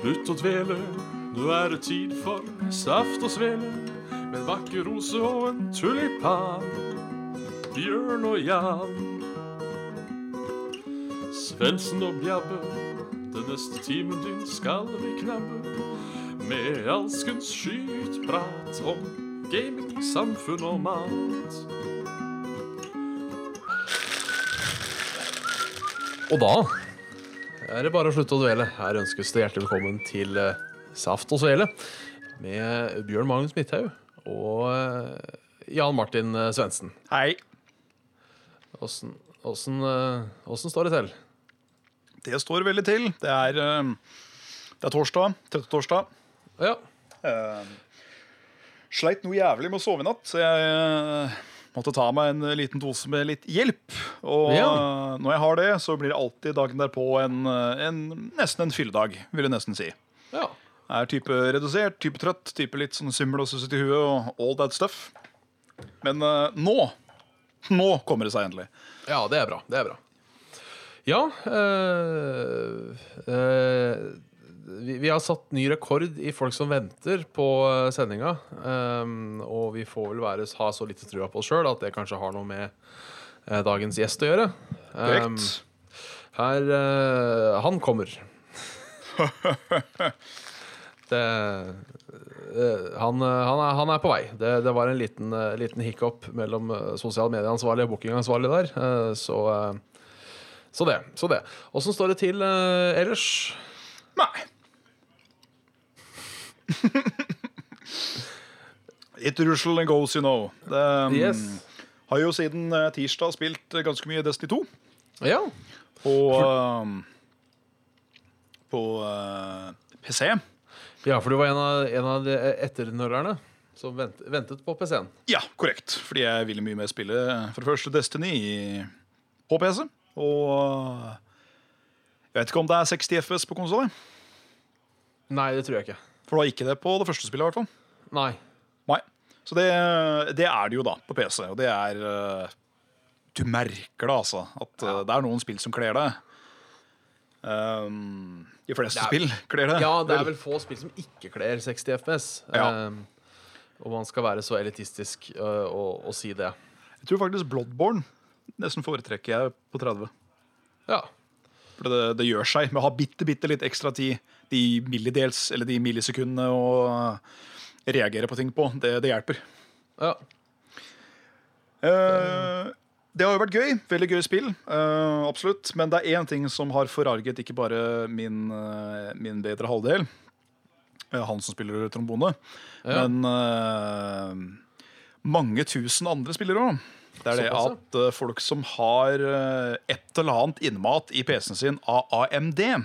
Slutt å dvele, nå er det tid for saft og svele. Med en vakker rose og en tulipan. Bjørn og Jan. Svendsen og Bjabbe, den neste timen din skal vi knabbe. Med alskens skytprat om gaming, samfunn og mat. Og da er det bare å slutte å dvele. Her ønskes det hjertelig velkommen til eh, Saft og Svele med Bjørn Magnus Midthaug og eh, Jan Martin eh, Svendsen. Hei. Åssen åssen, eh, åssen står det til? Det står veldig til. Det er, eh, det er torsdag. Tredje torsdag. Ja, Eh, Sleit noe jævlig med å sove i natt, så jeg eh, måtte ta meg en liten dose med litt hjelp. Og Ja. eh, når jeg har det, så blir det alltid dagen derpå en, eh, en, nesten en fylledag, vil jeg nesten si. ja. Jeg er type redusert, type trøtt, type litt sånn symbol og susset i huet og all that stuff. Men eh, nå Nå kommer det seg endelig. Ja, det er bra. Det er bra. Ja eh, eh, vi, vi har satt ny rekord i folk som venter på eh, sendinga. eh, og vi får vel være, ha så lite trua på oss sjøl at det kanskje har noe med eh, dagens gjest å gjøre. Eh, Korrekt. her eh, Han kommer. det eh, han, eh, han, er, han er på vei. Det, det var en liten, eh, liten hiccup mellom eh, sosiale medieansvarlig og bookingansvarlig der. eh, så, eh, så det. Så det. Åssen står det til eh, ellers? Nei. It rustle and goes, you know. Det, um, Yes. Har jo siden eh, tirsdag spilt eh, ganske mye Destiny 2. Ja. På, um, på eh, PC. ja, for du var en av, en av de etternølerne som vent, ventet på PC-en. Ja, korrekt. Fordi jeg ville mye mer spille eh, for det første Destiny i- på PC. Og eh, jeg vet ikke om det er 60 FS på konsoll. Nei, det tror jeg ikke. For det var ikke det på det første spillet. i hvert fall Nei. Nei. Så det, det er det jo da, på PC. Og det er eh, Du merker det, altså. At eh, det er noen spill som kler det. Um, de fleste Det er- spill kler det. Ja, det er vel få spill som ikke kler 60 FPS. Ja. Ehm, og man skal være så elitistisk øh, og, og si det. Jeg tror faktisk Bloodborne nesten foretrekker jeg på 30. Ja. For det, det gjør seg med å ha bitte, bitte litt ekstra tid. De millidels, eller de millisekundene å eh, reagere på ting på, det, det hjelper. ja. Eh, det har jo vært gøy. Veldig gøy spill. eh, absolutt. Men det er én ting som har forarget ikke bare min, eh, min bedre halvdel, eh, han som spiller trombone, Ja. men eh, mange tusen andre spillere òg. Det er det Såpass, at eh, folk som har eh, et eller annet innmat i PC-en sin av AMD,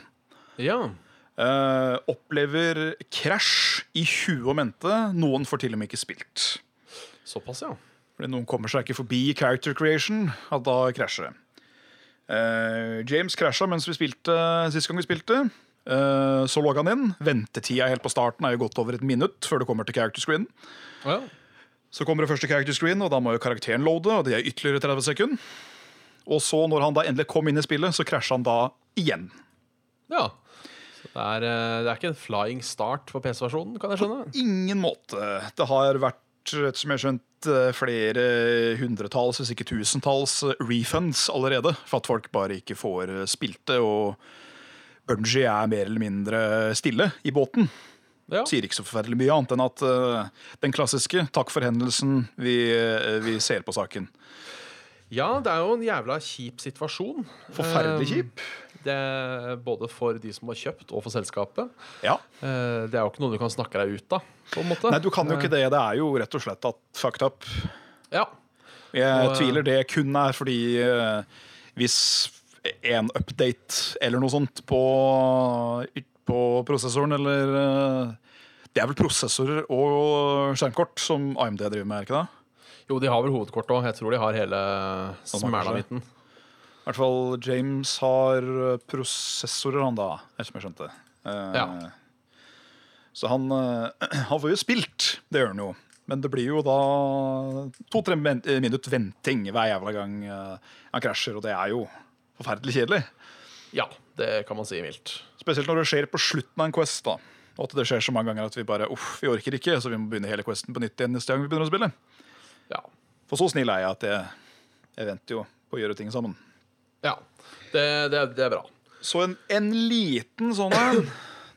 ja. eh, opplever krasj i huet og mente. Noen får til og med ikke spilt. Såpass, ja. Fordi noen kommer seg ikke forbi character creation, at da krasjer det. Eh, James krasja mens vi spilte sist gang vi spilte. Eh, så logga han inn. Ventetida helt på starten er jo godt over et minutt før det kommer til character screen. Å, ja. Så kommer det første character screen, og da må jo karakteren loade, og det er ytterligere 30 sekunder. Og så, når han da endelig kom inn i spillet, så krasja han da igjen. ja. Så det, er, øh, det er ikke en flying start for PC-versjonen, kan jeg skjønne. Ingen måte. Det har vært, etter som jeg har skjønt, flere hundretalls, hvis ikke tusentalls, refunds allerede. For at folk bare ikke får spilt det. Og Bungie er mer eller mindre stille i båten. Ja. Sier ikke så forferdelig mye annet enn at eh, den klassiske 'takk for hendelsen', vi, eh, vi ser på saken. ja, det er jo en jævla kjip situasjon. Forferdelig Ehm, kjip. Det er både for de som har kjøpt, og for selskapet. Ja. Eh, det er jo ikke noe du kan snakke deg ut av, på en måte. Nei, du kan jo ikke det. Det er jo rett og slett at fucked up. Ja. Jeg Og, eh, tviler det kun er fordi eh, hvis en update eller noe sånt på, på prosessoren eller eh, Det er vel prosessorer og skjermkort som AMD driver med, er det ikke det? Jo, de har vel hovedkort òg. Jeg tror de har hele smæla midten. I hvert fall James har eh, prosessorer, han da, etter som jeg skjønte. Eh, Ja. Så han, eh, han får jo spilt, det gjør han jo. Men det blir jo da to-tre men- eh, minutt venting hver jævla gang eh, han krasjer, og det er jo forferdelig kjedelig. Ja, Det kan man si mildt. Spesielt når det skjer på slutten av en quest. da Og at det skjer så mange ganger at vi bare uff, vi orker ikke, så vi må begynne hele questen på nytt igjen neste gang vi begynner å spille. Ja. For så snill er jeg at jeg, jeg venter jo på å gjøre ting sammen. ja. Det, det, er- det er bra. Så en, en liten sånn en.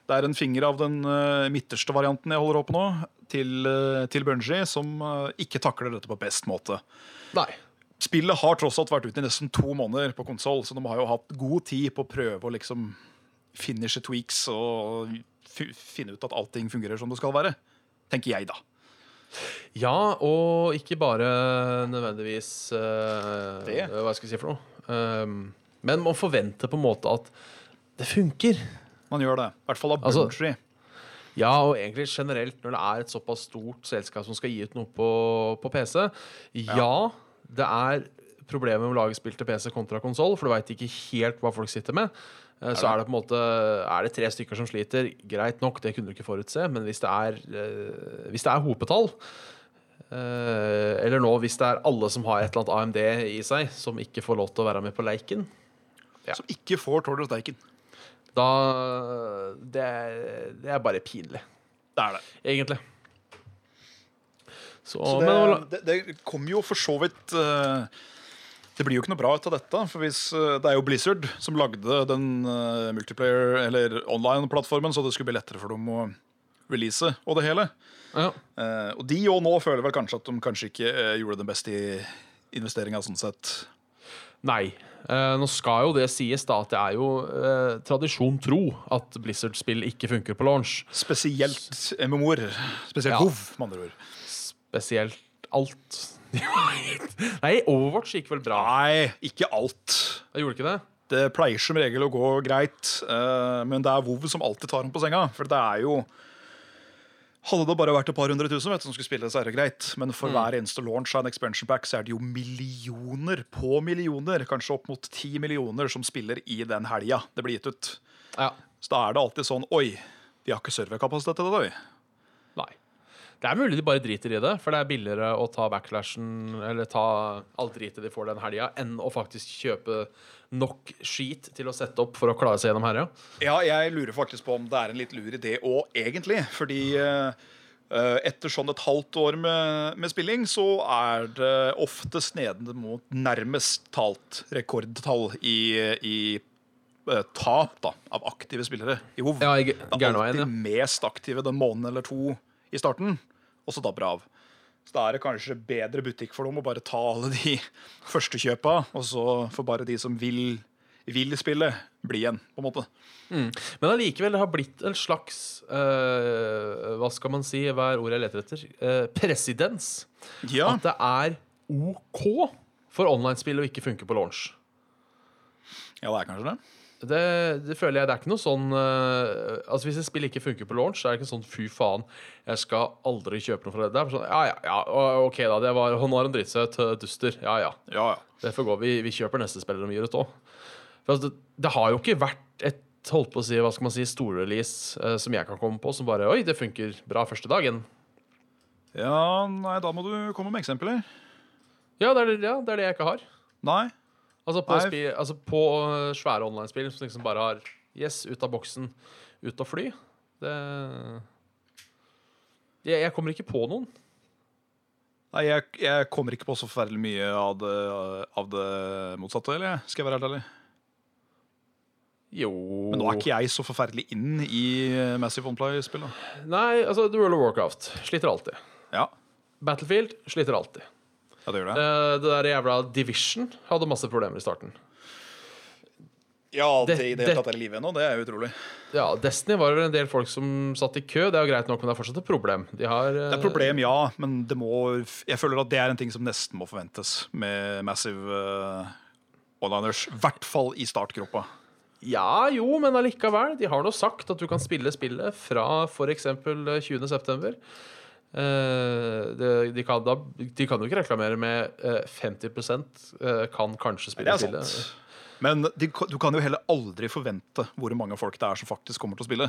Det er en finger av den eh, midterste varianten jeg holder opp nå, til, uh, til Bungie, som eh, ikke takler dette på best måte. Nei. Spillet har tross alt vært ute i nesten to måneder på konsoll, så de har jo hatt god tid på å prøve å liksom finishe tweaks og fi- finne ut at allting fungerer som det skal være. Tenker jeg, da. Ja, og ikke bare nødvendigvis eh, Det. Hva skal jeg si for noe? Um, men man forventer på en måte at det funker. Man gjør det. I hvert fall av Altså- Bungie. Ja, og egentlig generelt når det er et såpass stort selskap som skal gi ut noe på, på PC. Ja, det er problemer med å lage spill til PC kontra konsoll, for du veit ikke helt hva folk sitter med. Eh, Så er det på en måte Er det tre stykker som sliter, greit nok, det kunne du ikke forutse, men hvis det er, eh, hvis det er hopetall eh, eller nå, hvis det er alle som har et eller annet AMD i seg, som ikke får lov til å være med på leiken, Ja. Som ikke får Tord og Steiken. da Det, er- det er bare pinlig, Det er det. egentlig. Så, Så men, nå la- det, det, det kom jo for så vidt eh, Det blir jo ikke noe bra ut av dette. For hvis, eh, det er jo Blizzard som lagde den eh, multiplayer- eller online-plattformen, så det skulle bli lettere for dem å release og det hele. Ja. Eh, og de og nå føler vel kanskje at de kanskje ikke eh, gjorde den beste i investeringa sånn sett. Nei. Eh, nå skal jo det sies, da, at det er jo eh, tradisjon tro at Blizzard-spill ikke funker på launch. Spesielt MMO-er. Spesielt Ja. WoW, med andre ord. Spesielt alt. Nei, Overwatch gikk vel bra? Nei, ikke alt. Jeg gjorde ikke det? Det pleier som regel å gå greit, eh, men det er WoW som alltid tar ham på senga. For det er jo Hadde det bare vært et par hundre tusen vet du, som skulle spille, så er det greit. Men for hver eneste launch av en expansion pack, så er det jo millioner på millioner, kanskje opp mot ti millioner, som spiller i den helga det blir gitt ut. Ja. Så da er det alltid sånn Oi, vi har ikke serverkapasitet til det, da. vi». Nei. Det er mulig de bare driter i det, for det er billigere å ta backlashen eller ta alt dritet de får den helga, enn å faktisk kjøpe nok skit til å sette opp for å klare seg gjennom herja. Ja, jeg lurer faktisk på om det er en litt lur idé òg, egentlig. Fordi eh, eh, etter sånn et halvt år med, med spilling, så er det oftest nede mot nærmest talt rekordtall i, i eh, tap da, av aktive spillere i WoW. Ja, i g- det er gærne veien, alltid ja. mest aktive den måneden eller to i starten, og så dabber det av. Så da er det kanskje bedre butikk for dem å bare ta alle de første kjøpa, og så får bare de som vil, vil spille, bli igjen, på en måte. Men allikevel, det har blitt en slags eh, Hva skal man si, hva er ordet jeg leter etter? Eh, presedens. Ja. at det er OK for online-spill å ikke funke på launch. Ja, det er kanskje det. Det, det føler jeg, det er ikke noe sånn eh, Altså Hvis et spill ikke funker på launch, så er det ikke sånn 'fy faen, jeg skal aldri kjøpe noe fra det'. Det er bare sånn, ja, ja, ja, å- OK, da. Det var, nå har han dritt seg ut. eh, Duster. Ja, ja. Ja, ja. Det får gå. Vi, vi kjøper neste spiller om Jurut òg. Altså, det, det har jo ikke vært et holdt på å si, hva skal man si, storrelease eh, som jeg kan komme på, som bare 'oi, det funker bra første dagen'. nei, da må du komme med eksempler. Ja, det er, ja, det, er det jeg ikke har. Nei. Altså på, Nei. spi, altså på øh, svære online-spill som liksom bare har Yes, ut av boksen, ut og fly. Det jeg, jeg kommer ikke på noen. Nei, jeg, jeg kommer ikke på så forferdelig mye av det, av det motsatte, eller? jeg? Skal jeg være helt ærlig? Jo Men nå er ikke jeg så forferdelig inn i eh, Massive Oneplay-spill, da. Nei, altså The World of Warcraft sliter alltid. Ja. Battlefield sliter alltid. ja, det gjør det. Eh, det der jævla Division hadde masse problemer i starten. Ja, det- i det- hele tatt er i live ennå, det er jo utrolig. Ja, Destiny var vel en del folk som satt i kø. Det er jo greit nok, men det er fortsatt et problem. De har eh, Det er et problem, ja, men det må, jeg føler at det er en ting som nesten må forventes med Massive uh, Onliners. I hvert fall i startgropa. Ja, jo, men allikevel. De har nå sagt at du kan spille spillet fra eh, f.eks. 20.9. Uh, de, de, kan, da, de kan jo ikke reklamere med eh, 50 eh, kan kanskje Det spille er sant. spillet. Men de, du kan jo heller aldri forvente hvor mange folk det er som faktisk kommer til å spille.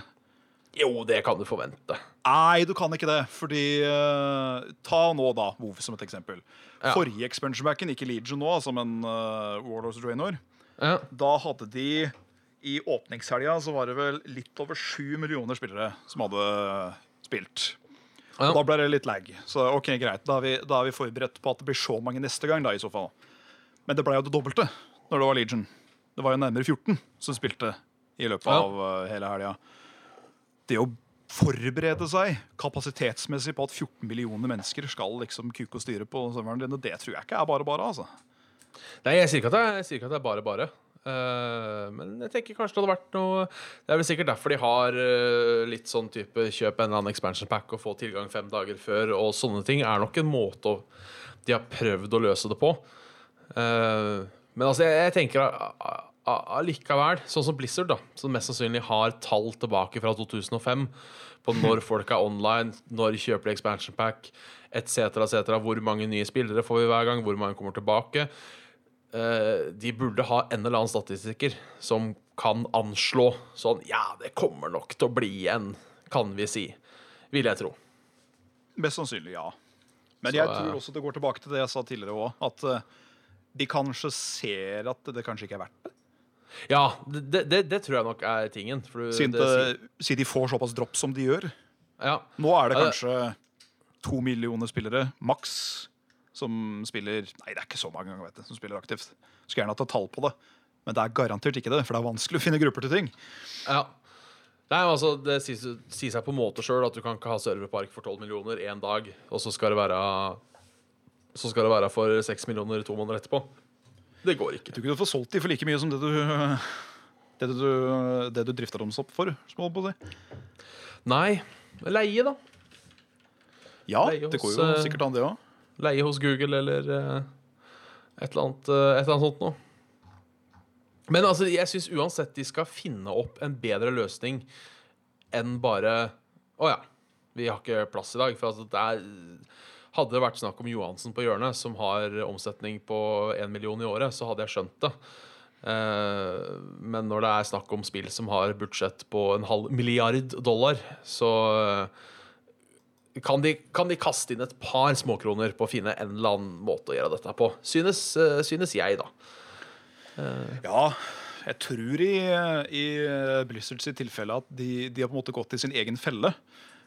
Jo, det kan du forvente. Nei, du kan ikke det. Fordi eh, Ta nå, da, WoW som et eksempel. Ja. Forrige eh, expansion backen, ikke Legion nå, altså, men uh, Warlords of Draenor, Ja. da hadde de I åpningshelga så var det vel litt over sju millioner spillere som hadde spilt. Ja. Og Da ble det litt lag. Så ok, greit, da er, vi, da er vi forberedt på at det blir så mange neste gang, da, i så fall. Men det ble jo det dobbelte når det var Legion. Det var jo nærmere 14 som spilte i løpet Ja. av eh, hele helga. Det å forberede seg kapasitetsmessig på at 14 millioner mennesker skal liksom kuke og styre på serveren din, det tror jeg ikke er bare bare, altså. Nei, jeg sier ikke at det, er- jeg sier ikke at det er bare bare. Eh, men jeg tenker kanskje det hadde vært noe Det er vel sikkert derfor de har eh, litt sånn type kjøp en eller annen expansion pack og få tilgang fem dager før og sånne ting. er nok en måte å, de har prøvd å løse det på. Eh, men altså, jeg, jeg tenker a- a- a- allikevel, sånn som Blizzard, da, som mest sannsynlig har tall tilbake fra 2005 på når folk er online, når kjøper de expansion pack etc., etc., hvor mange nye spillere får vi hver gang, hvor mange kommer tilbake eh, de burde ha en eller annen statistiker som kan anslå sånn Ja, det kommer nok til å bli en, kan vi si. Vil jeg tro. Mest sannsynlig, ja. Men Så, jeg eh, tror også det går tilbake til det jeg sa tidligere òg, at eh, de kanskje ser at det kanskje ikke er verdt det. Ja, det, det, det tror jeg nok er tingen. For du- Siden, det, sier- det, siden de får såpass dropp som de gjør. ja. Nå er det Ja, det- kanskje to millioner spillere, maks, som spiller Nei, det er ikke så mange vet du, som spiller aktivt. Skulle gjerne hatt et tall på det, men det er garantert ikke det. For det er vanskelig å finne grupper til ting. ja. Nei, men altså, det sier sier seg på en måte sjøl at du kan ikke ha serverpark for 12 millioner én dag, og så skal det være Så skal det være for 6 millioner to måneder etterpå. Det går ikke. Jeg tror ikke du får solgt de for like mye som det du det du, det du drifta dem opp for. Små på å si. Nei. Leie, da. Ja, Leie det går hos, jo eh, sikkert an, det òg. Leie hos Google eller eh, et, eller annet, eh, et eller annet sånt noe. Men altså, jeg syns uansett de skal finne opp en bedre løsning enn bare Å ja, vi har ikke plass i dag. For altså, det er, hadde det vært snakk om Johansen på hjørnet, som har omsetning på 1 million i året, så hadde jeg skjønt det. Eh, men når det er snakk om spill som har budsjett på en halv milliard dollar, så eh, kan de, kan de kaste inn et par småkroner på å finne en eller annen måte å gjøre dette på? Synes, eh, synes jeg, da. Ja, jeg tror i, i Blizzard sitt tilfelle at de, de har på en måte gått i sin egen felle.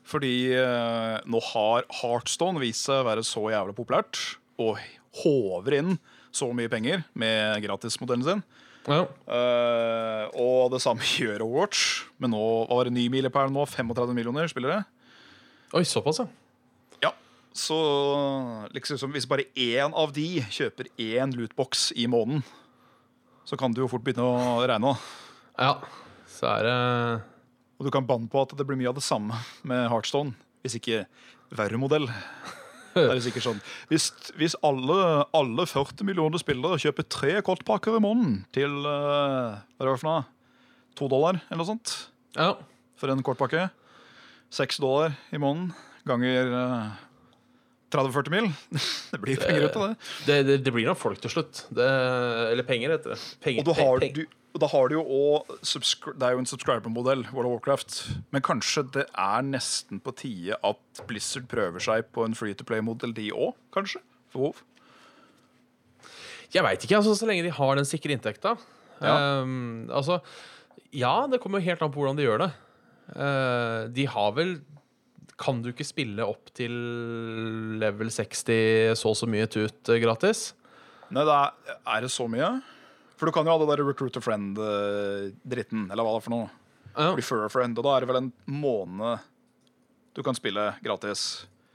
Fordi eh, nå har Heartstone vist seg å være så jævla populært og håver inn så mye penger med gratismodellen sin. Ja. Eh, og det samme gjør Overwatch. Men nå var det ny milepæl nå. 35 millioner spillere. Oi, såpass, ja. Ja, så liksom som hvis bare én av de kjøper én lootbox i måneden, så kan du jo fort begynne å regne. da. Ja, så er det Og du kan banne på at det blir mye av det samme med Heartstone. Hvis ikke verre modell. Da er det sikkert sånn. Hvis, hvis alle, alle 40 millioner spillere kjøper tre kortpakker i måneden til eh, hva er det for noe? to dollar eller noe sånt Ja. for en kortpakke Seks dollar i måneden ganger eh, 30-40 mil. Det blir penger ut av det. Det, det, det blir nok folk til slutt. Det, eller penger, heter det. Penger, Og du har, pe- pe- du, og da har du jo også subscri- Det er jo en subscriber-modell, World of Warcraft. Men kanskje det er nesten på tide at Blizzard prøver seg på en free to play-modell, de òg, kanskje? For WoW. Jeg veit ikke, altså, så lenge de har den sikre inntekta. Ja. Ehm, altså, ja, det kommer jo helt an på hvordan de gjør det. Eh, de har vel Kan du ikke spille opp til level 60 så og så mye tut eh, gratis? Nei, det er, er det så mye? For du kan jo ha det der recruiter friend-dritten, eller hva det er for noe. Ja. Refer a friend, og da er det vel en måned du kan spille gratis.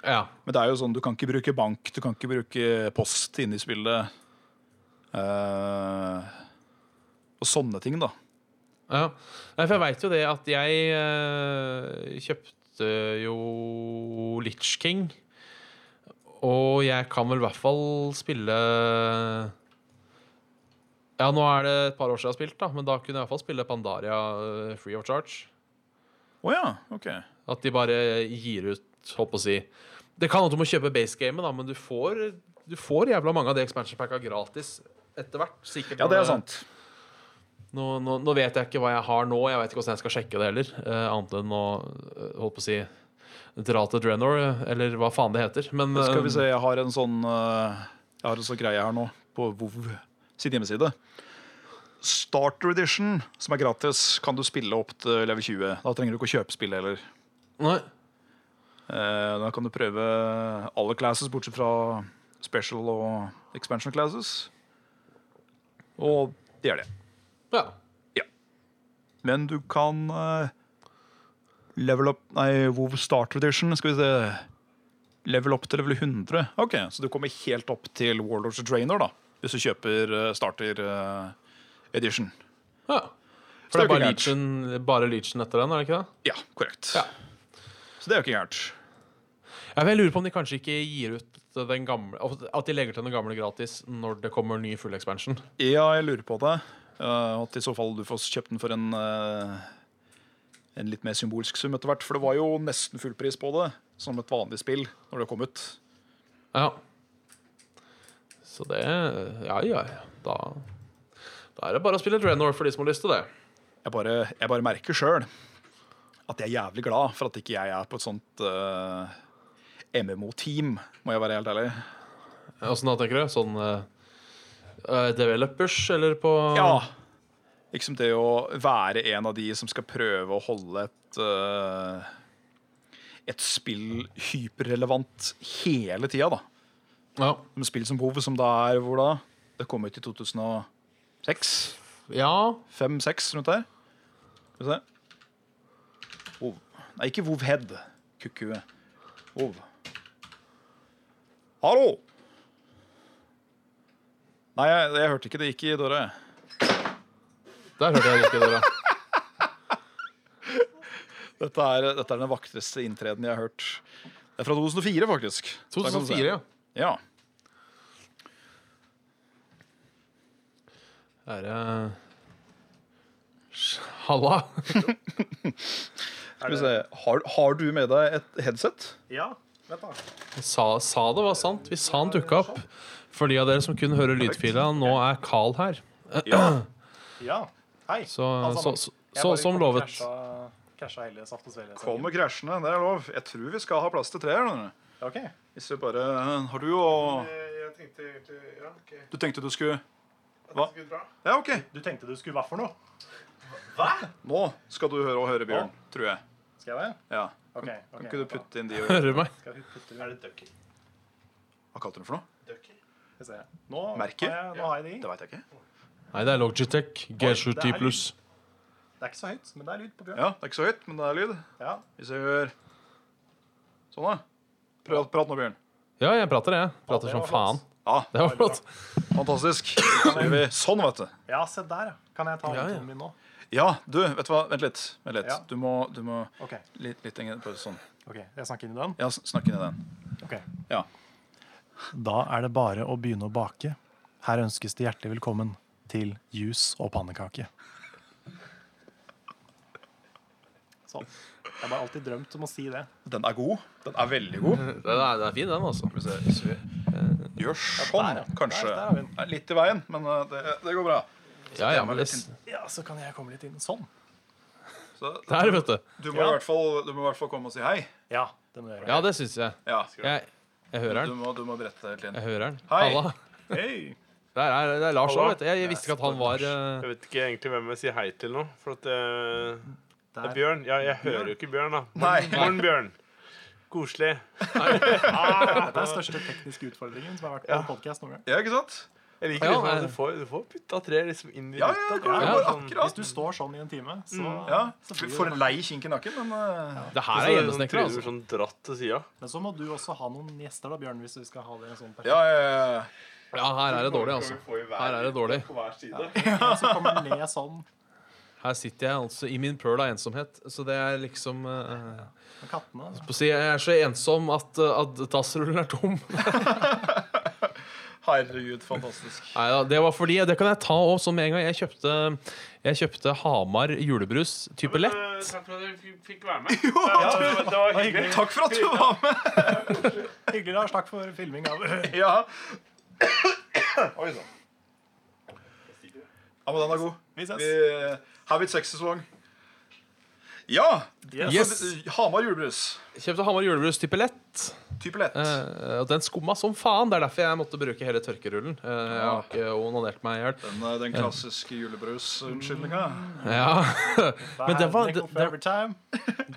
ja. Men det er jo sånn, du kan ikke bruke bank, du kan ikke bruke post inne i spillet. Eh, og sånne ting, da. Ja, Nei, for jeg veit jo det at jeg eh, kjøpte jo Litch King. Og jeg kan vel i hvert fall spille Ja, nå er det et par år siden jeg har spilt, da, men da kunne jeg i hvert fall spille Pandaria eh, free of charge. Å ja, OK. At de bare gir ut, holdt på å si Det kan at du må kjøpe basegamet, da, men du får, du får jævla mange av de expansion packa gratis etter hvert. sikkert Ja, når det er sant. Nå, nå, nå vet jeg ikke hva jeg har nå. Jeg vet ikke hvordan jeg skal sjekke det heller. Eh, annet enn å eh, holdt på å si dra til Drenor, eh, eller hva faen det heter. Men Skal eh, vi se, jeg har en sånn eh, Jeg har en sånn greie her nå, på WoW sin hjemmeside. Starter Edition, som er gratis, kan du spille opp til level 20. Da trenger du ikke å kjøpe spillet heller. Nei. Eh, Da kan du prøve alle classes, bortsett fra special og expansion classes. Og det er det. Ja. Men du kan eh, level up Nei, WoW Starter Edition, skal vi se. Level up til level 100. Ok, Så du kommer helt opp til Warlords og Trainer da, hvis du kjøper eh, Starter eh, Edition. ja. Så For det det er bare er ikke Legion, bare Legion etter den, er det ikke det? Ja, korrekt. Ja. Så det er jo ikke gærent. Ja, men Jeg lurer på om de kanskje ikke gir ut den gamle altså, At de legger til den gamle gratis når det kommer ny full expansion. Ja, jeg lurer på det. eh, at i så fall du får kjøpt den for en eh, en litt mer symbolsk sum etter hvert. For det var jo nesten full pris på det, som et vanlig spill, når det kom ut. Ja. Så det Ja, ja, ja. Da, da er det bare å spille Drenor for de som har lyst til det. Jeg bare, jeg bare merker sjøl at jeg er jævlig glad for at ikke jeg er på et sånt eh, MMO-team, må jeg være helt ærlig. Åssen da, tenker du? Sånn eh, eh, developers, eller på Ja. Liksom det å være en av de som skal prøve å holde et eh, et spill hyperrelevant hele tida, da. Ja. Som spill som Hov, som da er hvor da? Det kom ut i 2006? ja. 5-6, rundt der. Skal vi se. Vov. Nei, ikke Vovhead. Kukkue. Vov. Hallo! Nei, jeg, jeg hørte ikke det gikk i døra. jeg. Der hørte jeg ikke dere. Dette er, dette er den vakreste inntreden jeg har hørt. Det er fra 2004, faktisk. Så der kan du se. 2004, ja. Ja. Er det Sj- Halla! Skal vi se. Har, har du med deg et headset? Ja, vent da. Sa, sa det var sant. Vi sa han dukka opp. For de av dere som kunne høre lydfila, nå er Carl her. Ja, hei. Så, Alle så, sammen. så, Jeg så bare som kom- lovet. krasja- Krasja hele saft og svele. Kommer krasjende, det er lov. Jeg tror vi skal ha plass til tre her. nå. Ok. Hvis vi bare eh, Har du jo eh, Jeg tenkte egentlig Ja, OK. Du tenkte du skulle Dette skulle bra. Ja, OK. Du tenkte du skulle hva for noe? Nå skal du høre og høre, Bjørn. Tror jeg. Skal jeg det? Ja. Ok, Kan ok. ikke du putte inn de og Hører du meg? Skal jeg putte Er det ducky? Hva kalte du den for noe? Skal vi se. Nå Merke? har jeg, nå har jeg de. Det veit jeg ikke. Nei, det er Logitech G710 pluss. Det er ikke så høyt, men det er lyd på Bjørn. Ja, Det er ikke så høyt, men det er lyd. Ja. Hvis jeg gjør Sånn, da. Prøv, prat nå, Bjørn. Ja, jeg prater, jeg. Prater det som var faen. flott. Ja, Det var flott. fantastisk. Så gjør vi sånn, vet du. Ja, se der, ja. Kan jeg ta Ja, ja. håndtonen min nå? Ja, du, vet du hva. Vent litt. Vent litt. Ja. Du må, du må Ok, litt, litt lenger på sånn. ok. Jeg snakker inn i den. Ja, s- snakk inn i den. Ok. Ja. Da er det bare å begynne å bake. Her ønskes det hjertelig velkommen til juice og pannekake. Sånn. Jeg har bare alltid drømt om å si det. Den er god. Den er veldig god. Det er, det er fin, den, altså. Skal vi se, eh, hvis vi gjør sånn, der, ja. kanskje. Der- der har vi den. Nei, Litt i veien, men eh, det, det går bra. Ja, ja, men det, Ja, så kan jeg komme litt inn. Sånn. Så, der, vet du. du, må Ja. i hvert fall, du må i hvert fall komme og si hei. Ja, det må jeg gjøre. Ja, det syns jeg. Ja. jeg. Jeg hører Du den. må, du må berette helt inn. Jeg hører den. Hei. Halla. Hei! Det er, det er Lars òg, Hallo. vet du. Jeg, jeg visste ikke at han var eh, Jeg vet ikke egentlig hvem jeg sier hei til nå. For at eh, det Der. er Bjørn. Ja, jeg hører jo ikke Bjørn, da. Nei. Morn, Bjørn. Koselig. Det er den største tekniske utfordringen som har vært på en podcast noen gang. Ja, ikke sant? Jeg Ja, liker eh. liksom at nei. du får, du får putta tre liksom inn i Ja, ja, lufta. ja, Det er ja, bare sånn- akkurat. Hvis du står sånn i en time, så, Mm. Ja. så Vi blir får det en lei kink i nakken, men eh, Det her er sånn gjennomsnekra, tryner altså. sånn dratt til sida. Men så må du også ha noen gjester, da, Bjørn, hvis du skal ha det i en sånn ja, perfekt. ja, ja. Ja, her er det dårlig, altså. Her er det dårlig. En som kommer ned sånn. Her sitter jeg altså i min pøl av ensomhet, så det er liksom eh, med Kattene. på å si, Jeg er så ensom at, eh, at dassrullen er tom. Herregud, fantastisk. Nei da, det var fordi Det kan jeg ta òg, sånn med en gang. Jeg kjøpte, jeg kjøpte Hamar julebrus type lett. Takk for at jeg fikk være med. Jo, det, var, det var hyggelig. Takk for at du var med! Hyggelig, Lars. Takk for filming av Ja. Oi sann. Ja, men den er god. Vi ses. Vi Eh, har blitt sexsesong. Ja! Yes. Yes. eh, Hamar julebrus. Kjøpte Hamar julebrus type lett. Type lett. Eh, og den skumma som faen. Det er derfor jeg måtte bruke hele tørkerullen. Eh, jeg har ikke onanert meg i hjel. Den, eh, den klassiske julebrusunnskyldninga. Ja. Men det var, det, det, time.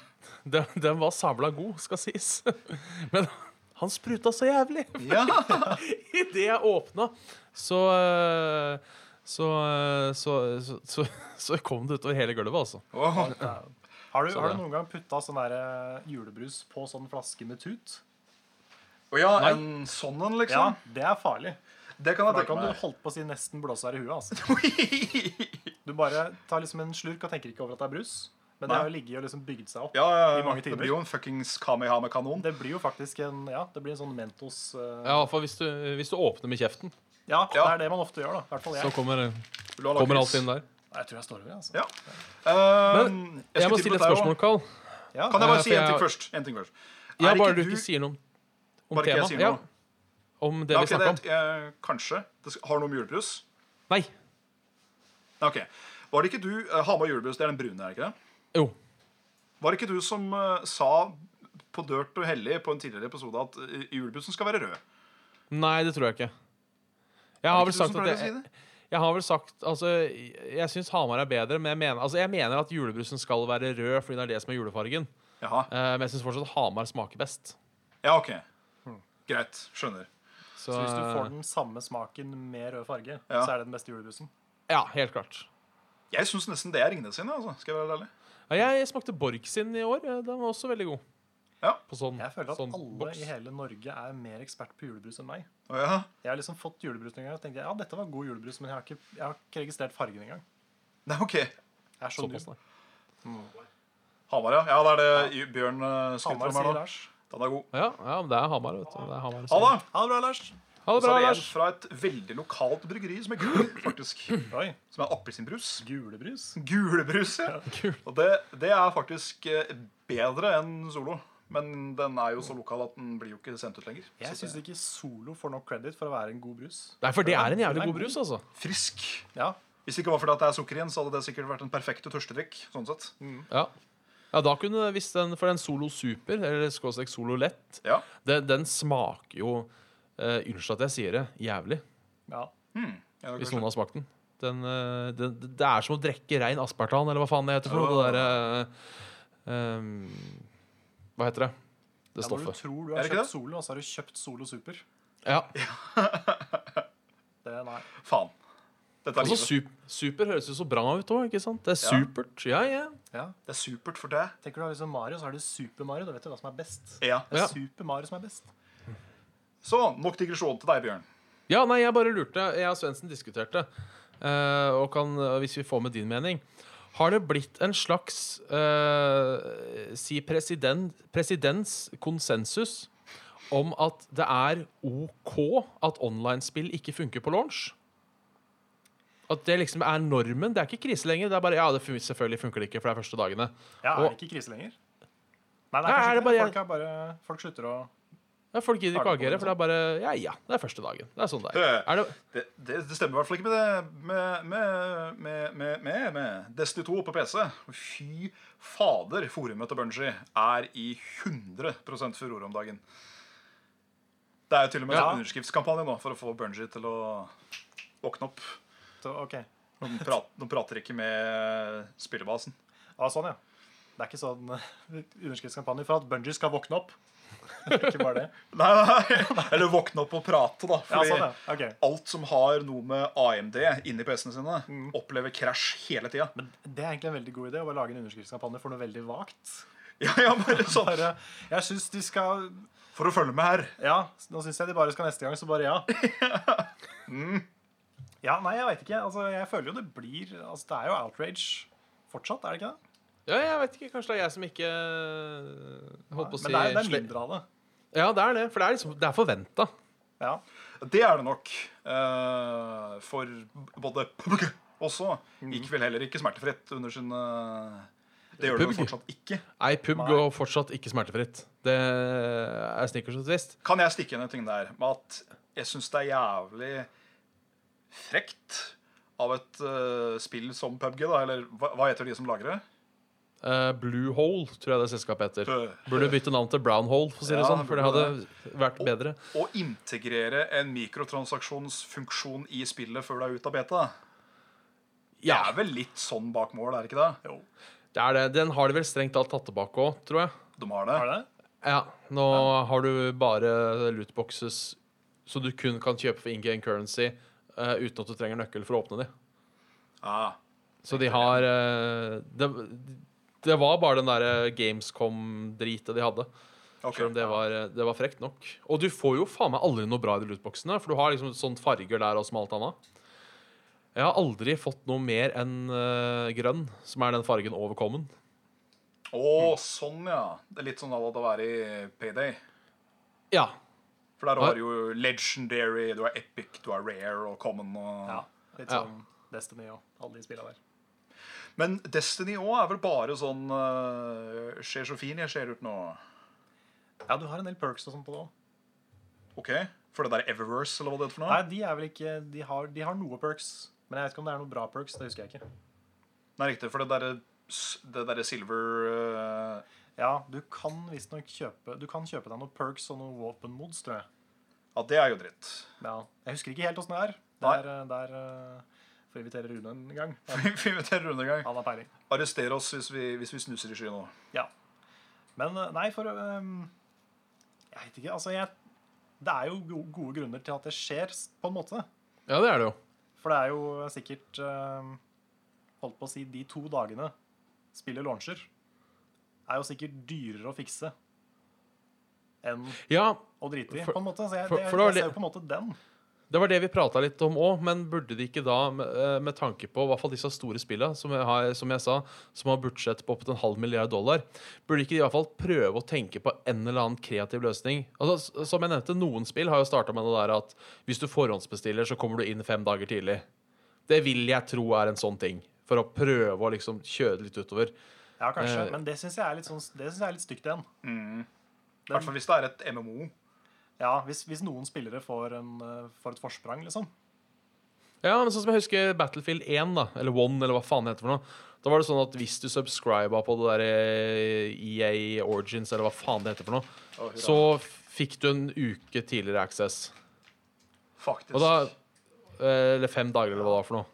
den, den var sabla god, skal sies. Men han spruta så jævlig. Ja. Idet jeg åpna, så eh, så, eh, så, så, så, så kom det utover hele gulvet, altså. Åh. Har du, Så har det. du noen gang putta sånn der eh, julebrus på sånn flaske med tut? Å ja, en sånn en, Ja, liksom? det er farlig. Det kan Da jeg kan du tenke holdt på å si nesten blåse her i huet. Altså. meg. Du bare tar liksom en slurk og tenker ikke over at det er brus. Men det har jo ligget og liksom bygd seg opp. Ja, ja, I mange ja. Det timer. blir jo en fuckings Kamehame-kanon. Det blir jo faktisk en ja, det blir en sånn Mentos eh, Ja, for hvis du, hvis du åpner med kjeften, ja, det Ja. er det man ofte gjør, da. I hvert fall så jeg. kommer, eh, Vil du ha kommer lakris? alt inn der. Jeg tror jeg står over, jeg, altså. Ja. Eh, Men jeg Jeg skulle må stille tippe et deg også. spørsmål, Carl. Ja. Kan jeg Eh, bare si for en jeg- ting først? En ting først. Ja, Er ikke bare du du- ikke sier noe om, om Bare ikke jeg temaet. sier Ja, noe. om det vi Ja, ok, snakka om. det, eh, kanskje. Det sk- har noe med julebrus? Nei. Ok. Var det ikke du eh, Hamar julebrus, det er den brune, er det ikke det? Jo. Var det ikke du som eh, sa på Dirt og Hellig på en tidligere episode at eh, julebrusen skal være rød? Nei, det tror jeg ikke. Jeg har ikke vel du sagt som at pleier å jeg, si det? jeg har vel sagt Altså, jeg syns Hamar er bedre, men jeg mener, altså, jeg mener at julebrusen skal være rød fordi det er det som er julefargen. Jaha. Eh, men jeg syns fortsatt Hamar smaker best. Ja, OK. Greit. Skjønner. Så, Så hvis du får eh, den samme smaken med rød farge, Ja. så er det den beste julebrusen. Ja, helt klart. Jeg syns nesten det er Ringnes sine. Altså. Skal jeg være helt ærlig? Ja, jeg smakte Borg sin i år. Eh, Den var også veldig god. Ja. På sånn, Jeg føler at sånn alle boks. i hele Norge er mer ekspert på julebrus enn meg. Å, ja. Jeg har liksom fått julebrus noen ganger og tenkte jeg, ja, dette var god julebrus, men jeg har ikke, jeg har ikke registrert fargen engang. Nei, OK. Jeg er så Såpass, dum. nei. Hamar, ja. Ja, det er det Ju- Bjørn uh, skryter Hamar om her sier nå. Lars. Den er god. Ja, ja, men det er Hamar, vet du. Det er Hamar Ha det. Ha det bra, Lars. ha Og det så bra, er det en Lars. fra et veldig lokalt bryggeri som er gul, faktisk. Oi, Som er appelsinbrus. gulebrus. Gulebrus, ja. Kul. Og det, det er faktisk eh, bedre enn Solo. Men den er jo så lokal at den blir jo ikke sendt ut lenger. Jeg Så syns ikke Solo får nok credit for å være en god brus. Nei, for det er en Den jævlig er god brus, altså. frisk. Ja, Hvis det ikke var fordi at det er sukker igjen, så hadde det sikkert vært den perfekte tørstedrikk. sånn sett. Ja. ja, da kunne hvis den For den Solo Super, eller skråstrek Solo Lett, Ja. den, den smaker jo eh, Unnskyld at jeg sier det, jævlig. ja. Ja, Hvis kanskje. noen har smakt den. Den, eh, den. Det er som å drikke rein aspartan, eller hva faen det heter for noe. Ja. Det derre Hva heter det? Det Ja, når du stoffet. tror du Er har det ikke kjøpt det? Solo, og så har du kjøpt Solo Super. Ja. Det, nei. Faen. Dette er Altså, sup, livet. super høres jo så bra ut òg, ikke sant? Det er supert. Ja, ja. Ja. Det er supert for deg. Tenker du har liksom Mario, så har du Super Mario. Da vet du hva som er best. Ja. Det Ja. er Super Mario som er best. Så nok digresjon til deg, Bjørn. Ja, nei, jeg bare lurte. Jeg og Svendsen diskuterte. eh, og kan, og hvis vi får med din mening Har det blitt en slags eh, si president, presidenskonsensus om at det er OK at online-spill ikke funker på launch? At det liksom er normen? Det er ikke krise lenger. Det er bare, ja, det fun selvfølgelig funker det ikke, for det er første dagene. Ja, er Og- det ikke krise lenger? Nei, Nei, det er er kanskje det ikke bare- det. Folk, er bare, folk slutter å Ja, folk gidder ikke å Har det agere, for det er bare Ja, ja, det er første dagen. Det er sånn det er. Det- er det, Det, det, det stemmer i hvert fall ikke med det med, med, med, med, med, med Destiny 2 på PC. Fy fader, forumet til Bunji er i 100 furore om dagen. Det er jo til og med Ja. en underskriftskampanje nå for å få Bunji til å våkne opp. så, OK. De prater, de prater ikke med spillebasen. Ah, sånn, ja. Det er ikke sånn eh, underskriftskampanje for at Bungie skal våkne opp. ikke bare det. Nei, nei, Eller våkne opp og prate, da. Ja, Fordi sånn, ja. Ok. alt som har noe med AMD inni PC-ene sine, opplever krasj hele tida. Men det er egentlig en veldig god idé å bare lage en underskriftskampanje for noe veldig vagt. Ja, ja, bare sånn. Bare, jeg synes de skal For å følge med her. Ja, nå syns jeg de bare skal neste gang, så bare ja. Mm. Ja, nei, jeg veit ikke. Altså, jeg føler jo det blir altså, Det er jo outrage fortsatt, er det ikke det? Ja, jeg vet ikke. Kanskje det er jeg som ikke eh, holdt på å si Men det er, det er sle- mindre av det. Ja, det er det. For det er, liksom, det er forventa. Ja. Det er det nok. eh, for både PUBG også gikk vel heller ikke smertefritt under sine Det gjør det jo PUBG. fortsatt ikke. Nei, pub Nei. går fortsatt ikke smertefritt. Det er snickers og twist. Kan jeg stikke inn en ting der? Med at jeg syns det er jævlig frekt av et eh, spill som PubG, da, eller hva, hva heter de som lager det? Eh, Blue Hole, tror jeg det selskapet heter. Burde bytte navn til Brown Hole, for å si det Ja, sånn. For det hadde burde vært bedre. Å integrere en mikrotransaksjonsfunksjon i spillet før du er ute av beta. Det Ja, er vel litt sånn bak mål, er det ikke det? det er det. Den har de vel strengt tatt tatt tilbake òg, tror jeg. De har det. Er det? Ja, Nå har du bare lootboxes så du kun kan kjøpe for in game currency eh, uten at du trenger nøkkel for å åpne de. Ah, Så de har eh, det, det var bare den derre Gamescom-dritet de hadde. ok. Selv om det var, eh, det var frekt nok. Og du får jo faen meg aldri noe bra i de lootboxene, for du har liksom sånt farger der og som alt annet. Jeg har aldri fått noe mer enn eh, grønn, som er den fargen over common. Å, sånn, ja. Det er litt sånn à la det å være i Payday. Ja. For der har du jo legendary, du er epic, du er rare og common. Og... Ja. Litt Ja. sånn Destiny og alle de spillene der. Men Destiny òg er vel bare sånn eh, Ser så fin jeg ser ut nå. Ja, du har en del perks og sånt på det òg. OK? For det der Eververse, eller hva det heter for noe? Nei, de er vel ikke De har, de har noe perks. Men jeg vet ikke om det er noe bra perks. Det husker jeg ikke. Nei, riktig. For det derre det der silver eh, Ja, du kan visstnok kjøpe Du kan kjøpe deg noen perks og noen våpenmods, tror jeg. Ja, det er jo dritt. Ja. Jeg husker ikke helt åssen det er. Nei. Der, der eh, får jeg invitere Rune en gang. Han Vi inviterer undergang. han har peiling. Arrester oss hvis vi, hvis vi snuser i skyen nå. Ja. Men eh, nei, for eh, Jeg vet ikke. Altså, jeg Det er jo go- gode grunner til at det skjer, s- på en måte. ja, det er det jo. For det er jo sikkert eh, Holdt på å si de to dagene spillet launcher, er jo sikkert dyrere å fikse enn Ja, å drite i, For- på en måte. Så jeg, for- det, for det var jeg ser det- jo på en måte den. Det var det vi prata litt om òg, men burde de ikke da, med, eh, med tanke på i hvert fall disse store spillene, som, jeg har- som jeg sa, som har budsjett på opptil en halv milliard dollar, burde ikke de i hvert fall prøve å tenke på en eller annen kreativ løsning? Altså, s- som jeg nevnte, noen spill har jo starta med det der at hvis du forhåndsbestiller, så kommer du inn fem dager tidlig. Det vil jeg tro er en sånn ting, for å prøve å liksom kjøre det litt utover. Ja, kanskje. Eh. Men det syns jeg er litt, sånn, det synes jeg er litt stygt igjen. I hvert fall hvis det er et MMO. Ja, hvis, hvis noen spillere får, en, eh, får et forsprang, liksom. Ja, men sånn som jeg husker Battlefield 1, da, eller 1, eller hva faen det heter for noe. Da var det sånn at hvis du subscriba på det der eh, EA Origins, eller hva faen det heter for noe, så fikk du en uke tidligere access. Faktisk. Og da, eh, eller fem dager, eller hva det var for noe.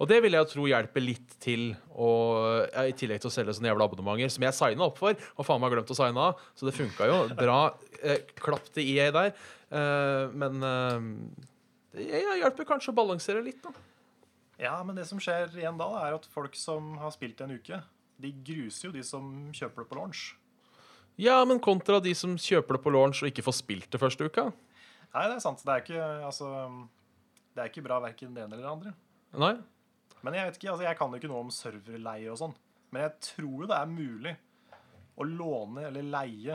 Og det vil jeg jo tro hjelper litt til, å, ja, i tillegg til å selge sånne jævla abonnementer, som jeg signa opp for, og faen meg har glemt å signe av. Så det funka jo. Bra eh, klapp til EA der. Eh, men eh, det ja, hjelper kanskje å balansere litt, da. Ja, men det som skjer igjen da, er at folk som har spilt en uke, de gruser jo de som kjøper det på launch. Ja, men kontra de som kjøper det på launch og ikke får spilt det første uka. Nei, det er sant. Det er ikke, altså, det er ikke bra verken det ene eller det andre. Nei? Men jeg vet ikke, altså jeg kan jo ikke noe om serverleie og sånn. Men jeg tror jo det er mulig å låne eller leie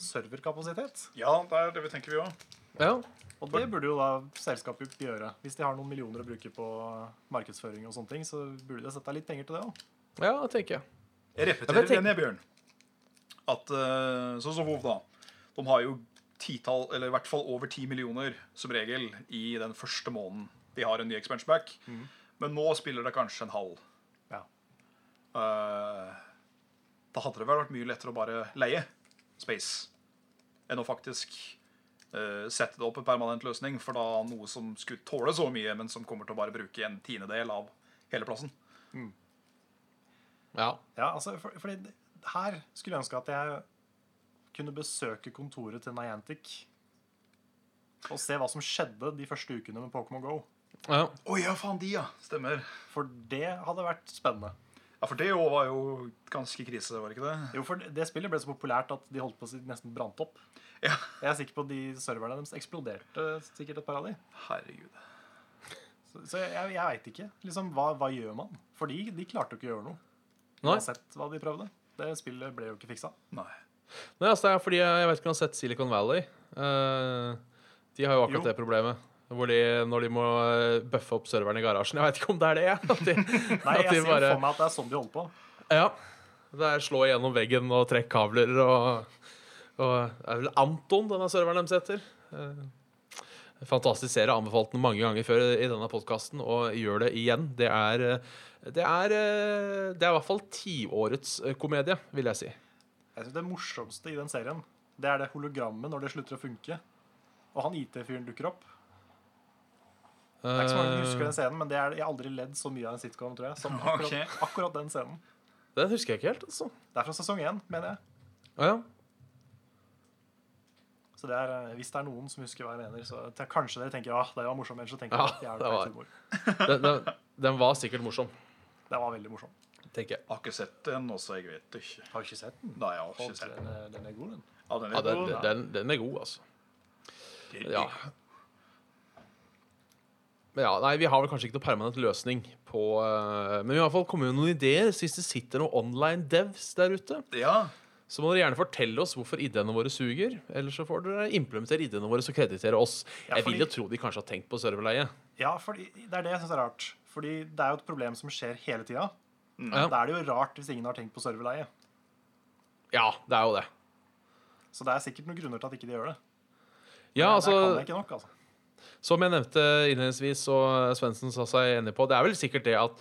serverkapasitet. Ja, det er det vi tenker, vi òg. Ja. Og det burde jo da selskapet gjøre. Hvis de har noen millioner å bruke på markedsføring og sånne ting, så burde de sette av litt penger til det òg. ja, tenker jeg. Jeg Ja, repeterer men tenk- igjen, jeg, Bjørn. At eh, sånn som WoW, da. De har jo titall, eller i hvert fall over ti millioner, som regel, i den første måneden de har en ny expansion pack. Men nå spiller det kanskje en halv. Ja. Eh, da hadde det vel vært mye lettere å bare leie Space enn å faktisk eh, sette det opp en permanent løsning, for da noe som skulle tåle så mye, men som kommer til å bare bruke en tiendedel av hele plassen. Ja. Ja, altså, for, fordi det- her skulle jeg ønske at jeg kunne besøke kontoret til Niantic og se hva som skjedde de første ukene med Pokémon Go. ja. Å ja, faen, de, ja. Stemmer. For det hadde vært spennende. Ja, for det jo var jo ganske krise, var det ikke det? Jo, for det- det spillet ble så populært at de holdt på å si nesten brant opp. Ja. Jeg er sikker på at de serverne deres eksploderte sikkert et par av de. Herregud. Så, så jeg, jeg veit ikke. Liksom, hva, hva gjør man? For de, de klarte jo ikke å gjøre noe. Nei. Uansett hva de prøvde. Det spillet ble jo ikke fiksa. Nei. Nei, altså, det er fordi jeg, jeg vet ikke om du har sett Silicon Valley. Eh, de har jo akkurat Jo. det problemet. Hvor de, når de må eh, bøffe opp serveren i garasjen. Jeg veit ikke om det er det. jeg. At de, Nei, at jeg de ser bare for meg at det er sånn de holder på. Ja. Det er slå gjennom veggen og trekk kabler og, og Det er vel Anton denne serveren deres heter. Eh, Fantastisk serie. Anbefalt den mange ganger før i denne podkasten, og gjør det igjen. Det er, eh, det er, eh, det er i hvert fall tiårets eh, komedie, vil jeg si. Jeg synes Det morsomste i den serien Det er det hologrammet når det slutter å funke. Og han IT-fyren dukker opp. Det er ikke så mange som Eh. husker den scenen, men det er, jeg har aldri ledd så mye av en sitcom tror jeg, som akkurat, Ok. akkurat den scenen. Eh, Den husker jeg ikke helt, altså. Det er fra sesong én, mener jeg. Å ja. Så det er, eh, Hvis det er noen som husker hva jeg mener, så t- kanskje dere tenker ah, det var morsomt. Ellers så tenker Ja, dere at jeg er det på var- feil humor. Den, den, den var sikkert morsom, Det var veldig morsomt. tenker jeg. Har ikke sett den også, jeg vet ikke. Har du ikke sett den? Nei, jeg har ikke sett den. Den er, den er god, den. Ja, den Ja, er den, god. den, den er god, altså. Ja. Men ja, nei, Vi har vel kanskje ikke noe permanent løsning på eh, Men vi har i hvert fall kommet med noen ideer. Så Hvis det sitter noen online devs der ute, Ja, så må dere gjerne fortelle oss hvorfor ideene våre suger. Eller så får dere implementere ideene våre og kreditere oss. Ja, Jeg fordi- vil jo tro de kanskje har tenkt på serverleie. Ja, fordi det er det jeg syns er rart. Fordi det er jo et problem som skjer hele tida. Mm. Ja. Da er det jo rart hvis ingen har tenkt på serverleie. Ja, det er jo det. Så det er sikkert noen grunner til at ikke de gjør det. Ja, Men altså, Der kan jeg ikke nok, altså. Som jeg nevnte innledningsvis, og Svendsen sa seg enig på, det er vel sikkert det at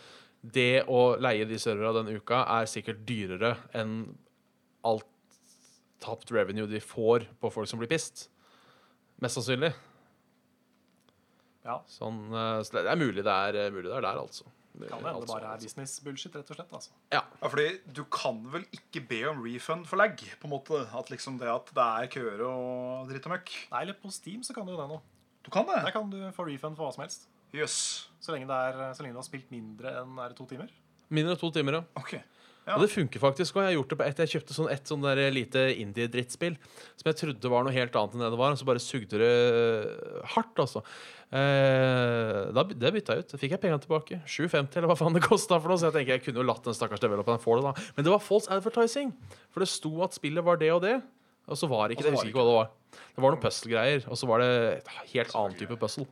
det å leie de serverne den uka er sikkert dyrere enn alt tapt revenue de får på folk som blir pissed. Mest sannsynlig. Ja. Sånn, eh, så det er mulig det er, mulig det er der, altså. Kan hende det Altså, bare er altså. business bullshit, rett og slett. altså. Ja. Ja, fordi du kan vel ikke be om refund for lag, på en måte. At liksom det at det er køer og dritt og møkk. Nei, eller på Steam så kan du jo det nå. Du kan Der det. kan du få refund for hva som helst. Jøss. Så lenge, det er, så lenge du har spilt mindre enn er det to timer. Mindre enn to timer, ja. Ok. Og det funker faktisk. Og jeg har gjort det på ett. Jeg kjøpte sånn et sånn der lite indie-drittspill som jeg trodde var noe helt annet enn det det var. Og så bare sugde det hardt, altså. Eh, da, by- det bytta jeg ut. Da fikk jeg pengene tilbake. 7,50 eller hva faen det kosta for noe. Så jeg tenker jeg kunne jo latt den stakkars developeren få det, da. Men det var false advertising. For det sto at spillet var det og det, og så var det ikke det. Jeg husker ikke hva det var. Det var noen puzzle-greier, og så var det et helt annen type puzzle.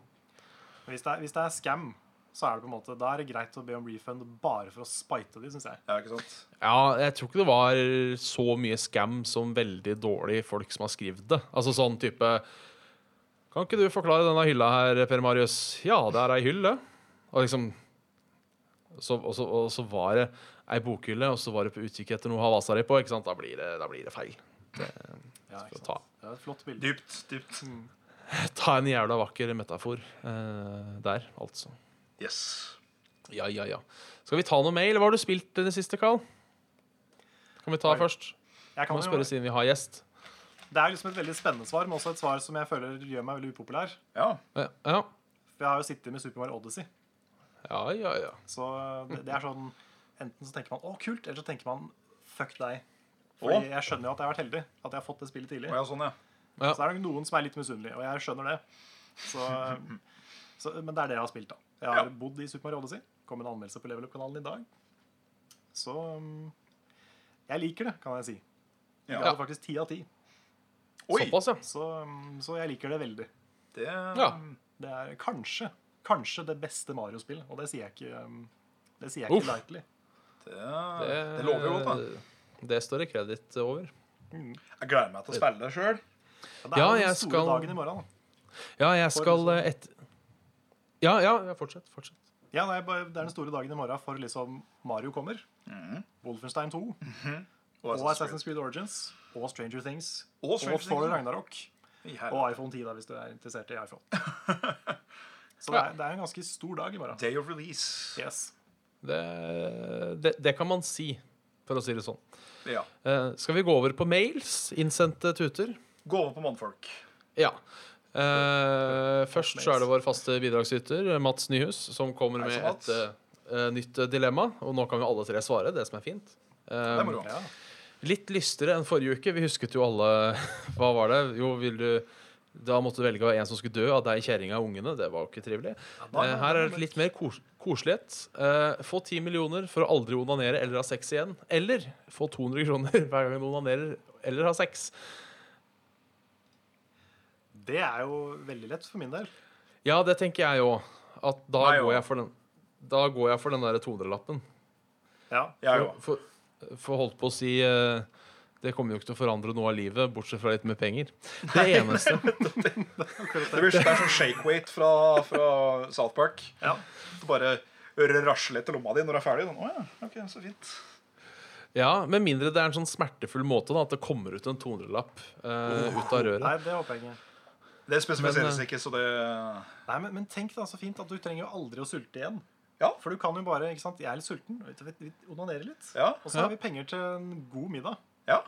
Men hvis det er, hvis det er scam, så er det på en måte, da er det greit å be om refund bare for å spite de, syns jeg. Ja, ikke sant? Ja, jeg tror ikke det var så mye scam som veldig dårlig folk som har skrevet det. Altså sånn type Kan ikke du forklare denne hylla her, Per Marius? Ja, det er ei hylle. Og liksom så, og, så, og så var det ei bokhylle, og så var det på utkikk etter noe å ha vasa di på. Ikke sant? Da, blir det, da blir det feil. Ja, Skal ikke sant? ta, Det er et flott bilde. Dypt, dypt. Mm. ta en jævla vakker metafor eh, der, altså. Yes. Ja, ja, ja. Skal vi ta noe mail? Hva har du spilt i det siste, Carl? Kan vi ta Oi. først? Jeg Må kan jo, spørre siden vi har gjest. det er liksom et veldig spennende svar, men også et svar som jeg føler gjør meg veldig upopulær. Ja. Ja, ja. For jeg har jo sittet med Super Mario Odyssey. Ja, ja, ja. Så det, det er sånn Enten så tenker man 'Å, kult', eller så tenker man 'fuck deg'. Fordi Å? jeg skjønner jo at jeg har vært heldig. At jeg har fått det spillet tidlig. Å ja, sånn, ja. Ja. Så det er nok noen som er litt misunnelige, og jeg skjønner det. Så, så, men det er det jeg har spilt, da. Jeg har Ja. bodd i Super Mario Odyssey. Kom en anmeldelse på Level Up-kanalen i dag. Så um, jeg liker det, kan jeg si. Jeg Ja. ga det faktisk ti av ti. Oi! Såpass, ja. Så, um, så jeg liker det veldig. Det, Ja. Det er kanskje kanskje det beste Mario-spillet, og det sier jeg ikke um, det sier jeg Uff. ikke lightly. det, det lover jo godt, da. Det står det kreditt over. Jeg gleder meg til å spille det sjøl. Men det Ja, er jo jeg den store skal- dagen i morgen. Da. Ja, jeg skal eh, et... Ja, ja, ja, fortsett. fortsett. Ja, nei, bare- det er den store dagen i morgen for liksom Mario kommer. Mm. Wolfenstein 2. Og Assassin's Creed Origins. Og Stranger Things. Og Og, Stranger Thor Things, ja. Ragnarok. Og iPhone 10, da, hvis du er interessert i iPhone. Så det er, det er en ganske stor dag i morgen. Day of release. Yes. Det, det, det kan man si, for å si det sånn. Ja. Eh, skal vi gå over på mails? Innsendte tuter? Gå over på mannfolk. Ja. Eh, først så er det vår faste bidragsyter, Mats Nyhus, som kommer Hei, med så et Mats. eh, eh, nytt dilemma. Og nå kan jo alle tre svare, det som er fint. Det er Eh, moro. Ja. Litt lystigere enn forrige uke. Vi husket jo alle Hva var det? Jo, vil du Da måtte du velge en som skulle dø av deg, kjerringa og ungene. Det var jo ikke trivelig. Eh, Her er det litt mer kos koselighet. Eh, Få 10 millioner for å aldri onanere eller ha sex igjen. Eller få 200 kroner hver gang du onanerer eller har sex. Det er jo veldig lett for min del. Ja, det tenker jeg òg. At da Meg går også. jeg for den Da går jeg for den derre 200-lappen. Ja. Jeg For, for, for holdt på å si eh, Det kommer jo ikke til å forandre noe av livet, bortsett fra litt mer penger. Det eneste. Det blir sånn shake-weight fra, fra South Park. Ja. Du bare rasler etter lomma di når du er ferdig. Sånn, Å ja, ok, så fint. Ja, Med mindre det er en sånn smertefull måte, da, at det kommer ut en 200-lapp eh, ut av røret. Nei, det håper jeg ikke. Det spesifiseres Men, eh, ikke, så det Nei, men, men tenk da så fint at du trenger jo aldri å sulte igjen. Ja. For du kan jo bare ikke sant, 'Jeg er litt sulten. Vet du, Vi onanerer litt.' Ja. Og så har vi penger til en god middag, ja.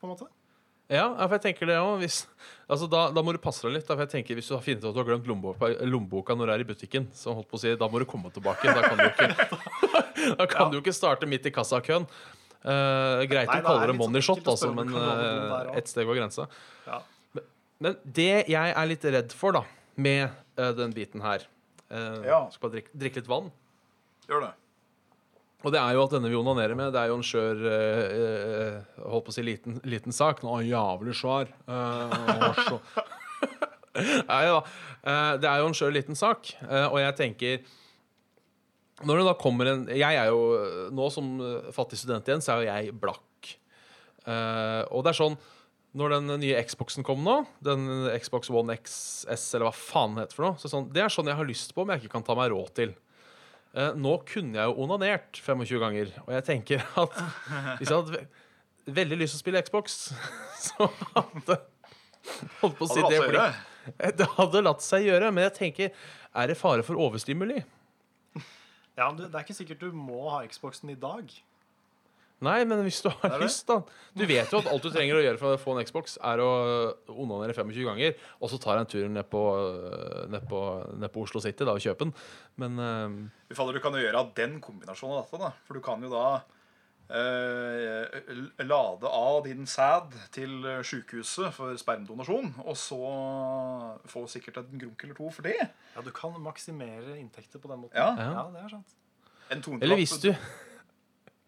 på en måte. Ja, ja, for jeg tenker det også, hvis, altså da, da må du passe deg litt. Da, for jeg tenker Hvis du har funnet ut at du har glemt lommeboka, lommeboka når du er i butikken, så holdt på å si, da må du komme tilbake. Da kan du ikke, da kan du ikke starte midt i kassakøen. Eh, greit Nei, å da er kalle det det litt money sånn shot, ekkelt å altså, spørre om men du kan låne noen eh, der også. et sted går grensa. Ja. Men det jeg er litt redd for, da, med eh, den biten her eh, Ja. Skal bare drikke, drikke litt vann. Gjør det. Og det er jo at denne vi onanerer med, det er jo en skjør eh, eh, Holdt på å si liten, liten sak. Nå, jævlig svær. Eh, og så. Nei da. Eh, det er jo en skjør liten sak, eh, og jeg tenker Når det da kommer en Jeg er jo nå som eh, fattig student igjen, så er jo jeg blakk. Eh, og det er sånn når den nye Xboxen kom nå, den Xbox One XS eller hva faen den heter for noe, så er det sånn, det er sånn jeg har lyst på, men jeg ikke kan ta meg råd til. Eh, nå kunne jeg jo onanert 25 ganger, og jeg tenker at hvis jeg hadde ve veldig lyst til å spille Xbox, så hadde Holdt på å si det. Hadde latt seg blir- gjøre. det hadde latt seg gjøre, men jeg tenker Er det fare for overstimuli? Ja, men du, Det er ikke sikkert du må ha Xboxen i dag. Nei, men hvis du har det? lyst, da. Du vet jo at alt du trenger å gjøre for å få en Xbox, er å onanere 25 ganger, og så tar jeg en tur ned på, øh, ned på, ned på Oslo City da, og kjøper den. Men eh, Vi faller du kan jo gjøre av den kombinasjonen av dette, da. For du kan jo da eh, l- lade av din sæd til eh, sykehuset for spermdonasjon, og så få sikkert en grunk eller to for det. Ja, Du kan maksimere inntekter på den måten. Ja. Ja. det er sant. En Eller hvis du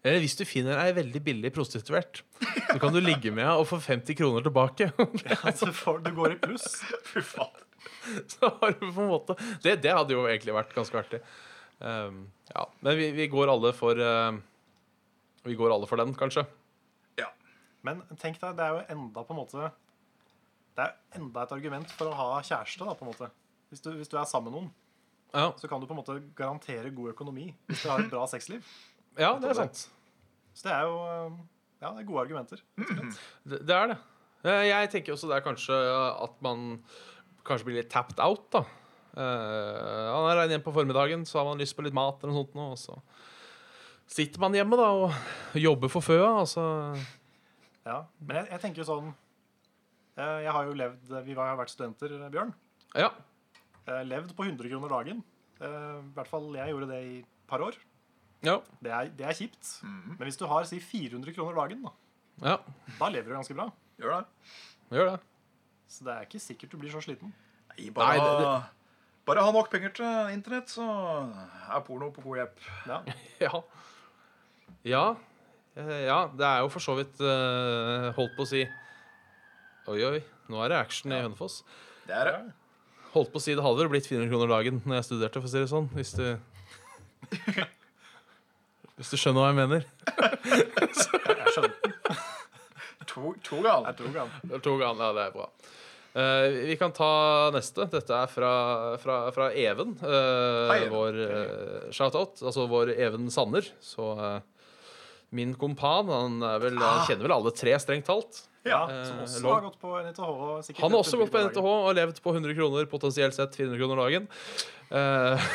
eller hvis du finner ei veldig billig prostituert, så kan du ligge med henne og få 50 kroner tilbake. Ja, så får, du Altså, går i pluss. Fy faen. Så har du på en måte Det, det hadde jo egentlig vært ganske artig. Um, ja. Men vi, vi går alle for eh, Vi går alle for den, kanskje. Ja. Men tenk deg, det er jo enda på en måte Det er enda et argument for å ha kjæreste, da, på en måte. Hvis du, hvis du er sammen med noen, Ja, så kan du på en måte garantere god økonomi hvis du har et bra sexliv. ja det er sant. Så det er jo eh, ja, det er gode argumenter. Det, det er det. Eh, Jeg tenker også det er kanskje at man kanskje blir litt tapped out, da. Eh, han er rein hjem på formiddagen, så har man lyst på litt mat eller noe sånt nå, og så sitter man hjemme da og jobber for føa, og så Ja. Men jeg, jeg tenker jo sånn eh, Jeg har jo levd Vi har jo vært studenter, eh, Bjørn. Ja. Eh, Levd på 100 kroner dagen. Eh, I hvert fall jeg gjorde det i et par år. Ja. Det er, det er kjipt. Mm. Men hvis du har si 400 kroner dagen, da, ja da lever du ganske bra. Gjør det. gjør det. Så det er ikke sikkert du blir så sliten. Nei, bare, Nei, det- ha- bare ha nok penger til internett, så er porno på god hjelp. Ja. Ja. Ja. Eh, ja. Det er jo for så vidt eh, holdt på å si Oi, oi, nå er det action i Hønefoss. Det er det. Holdt på å si det hadde vel blitt 400 kroner dagen når jeg studerte, for å si det sånn. Hvis du Hvis du skjønner hva jeg mener. Jeg skjønner. To, to gal. Jeg tror ikke han. Det er to ganger, ja, det er bra. Eh, vi kan ta neste. Dette er fra, fra, fra Even. eh, Hei, Even. Vår eh, shoutout. Altså vår Even Sanner. Så eh, min kompan. Han, er vel, han kjenner vel alle tre, strengt talt. Ja, Eh, som også lov. har gått på NITH. og sikkert Han har et også gått på hundre NTH dager. og levd på 100 kroner, potensielt sett 400 kroner dagen. Eh,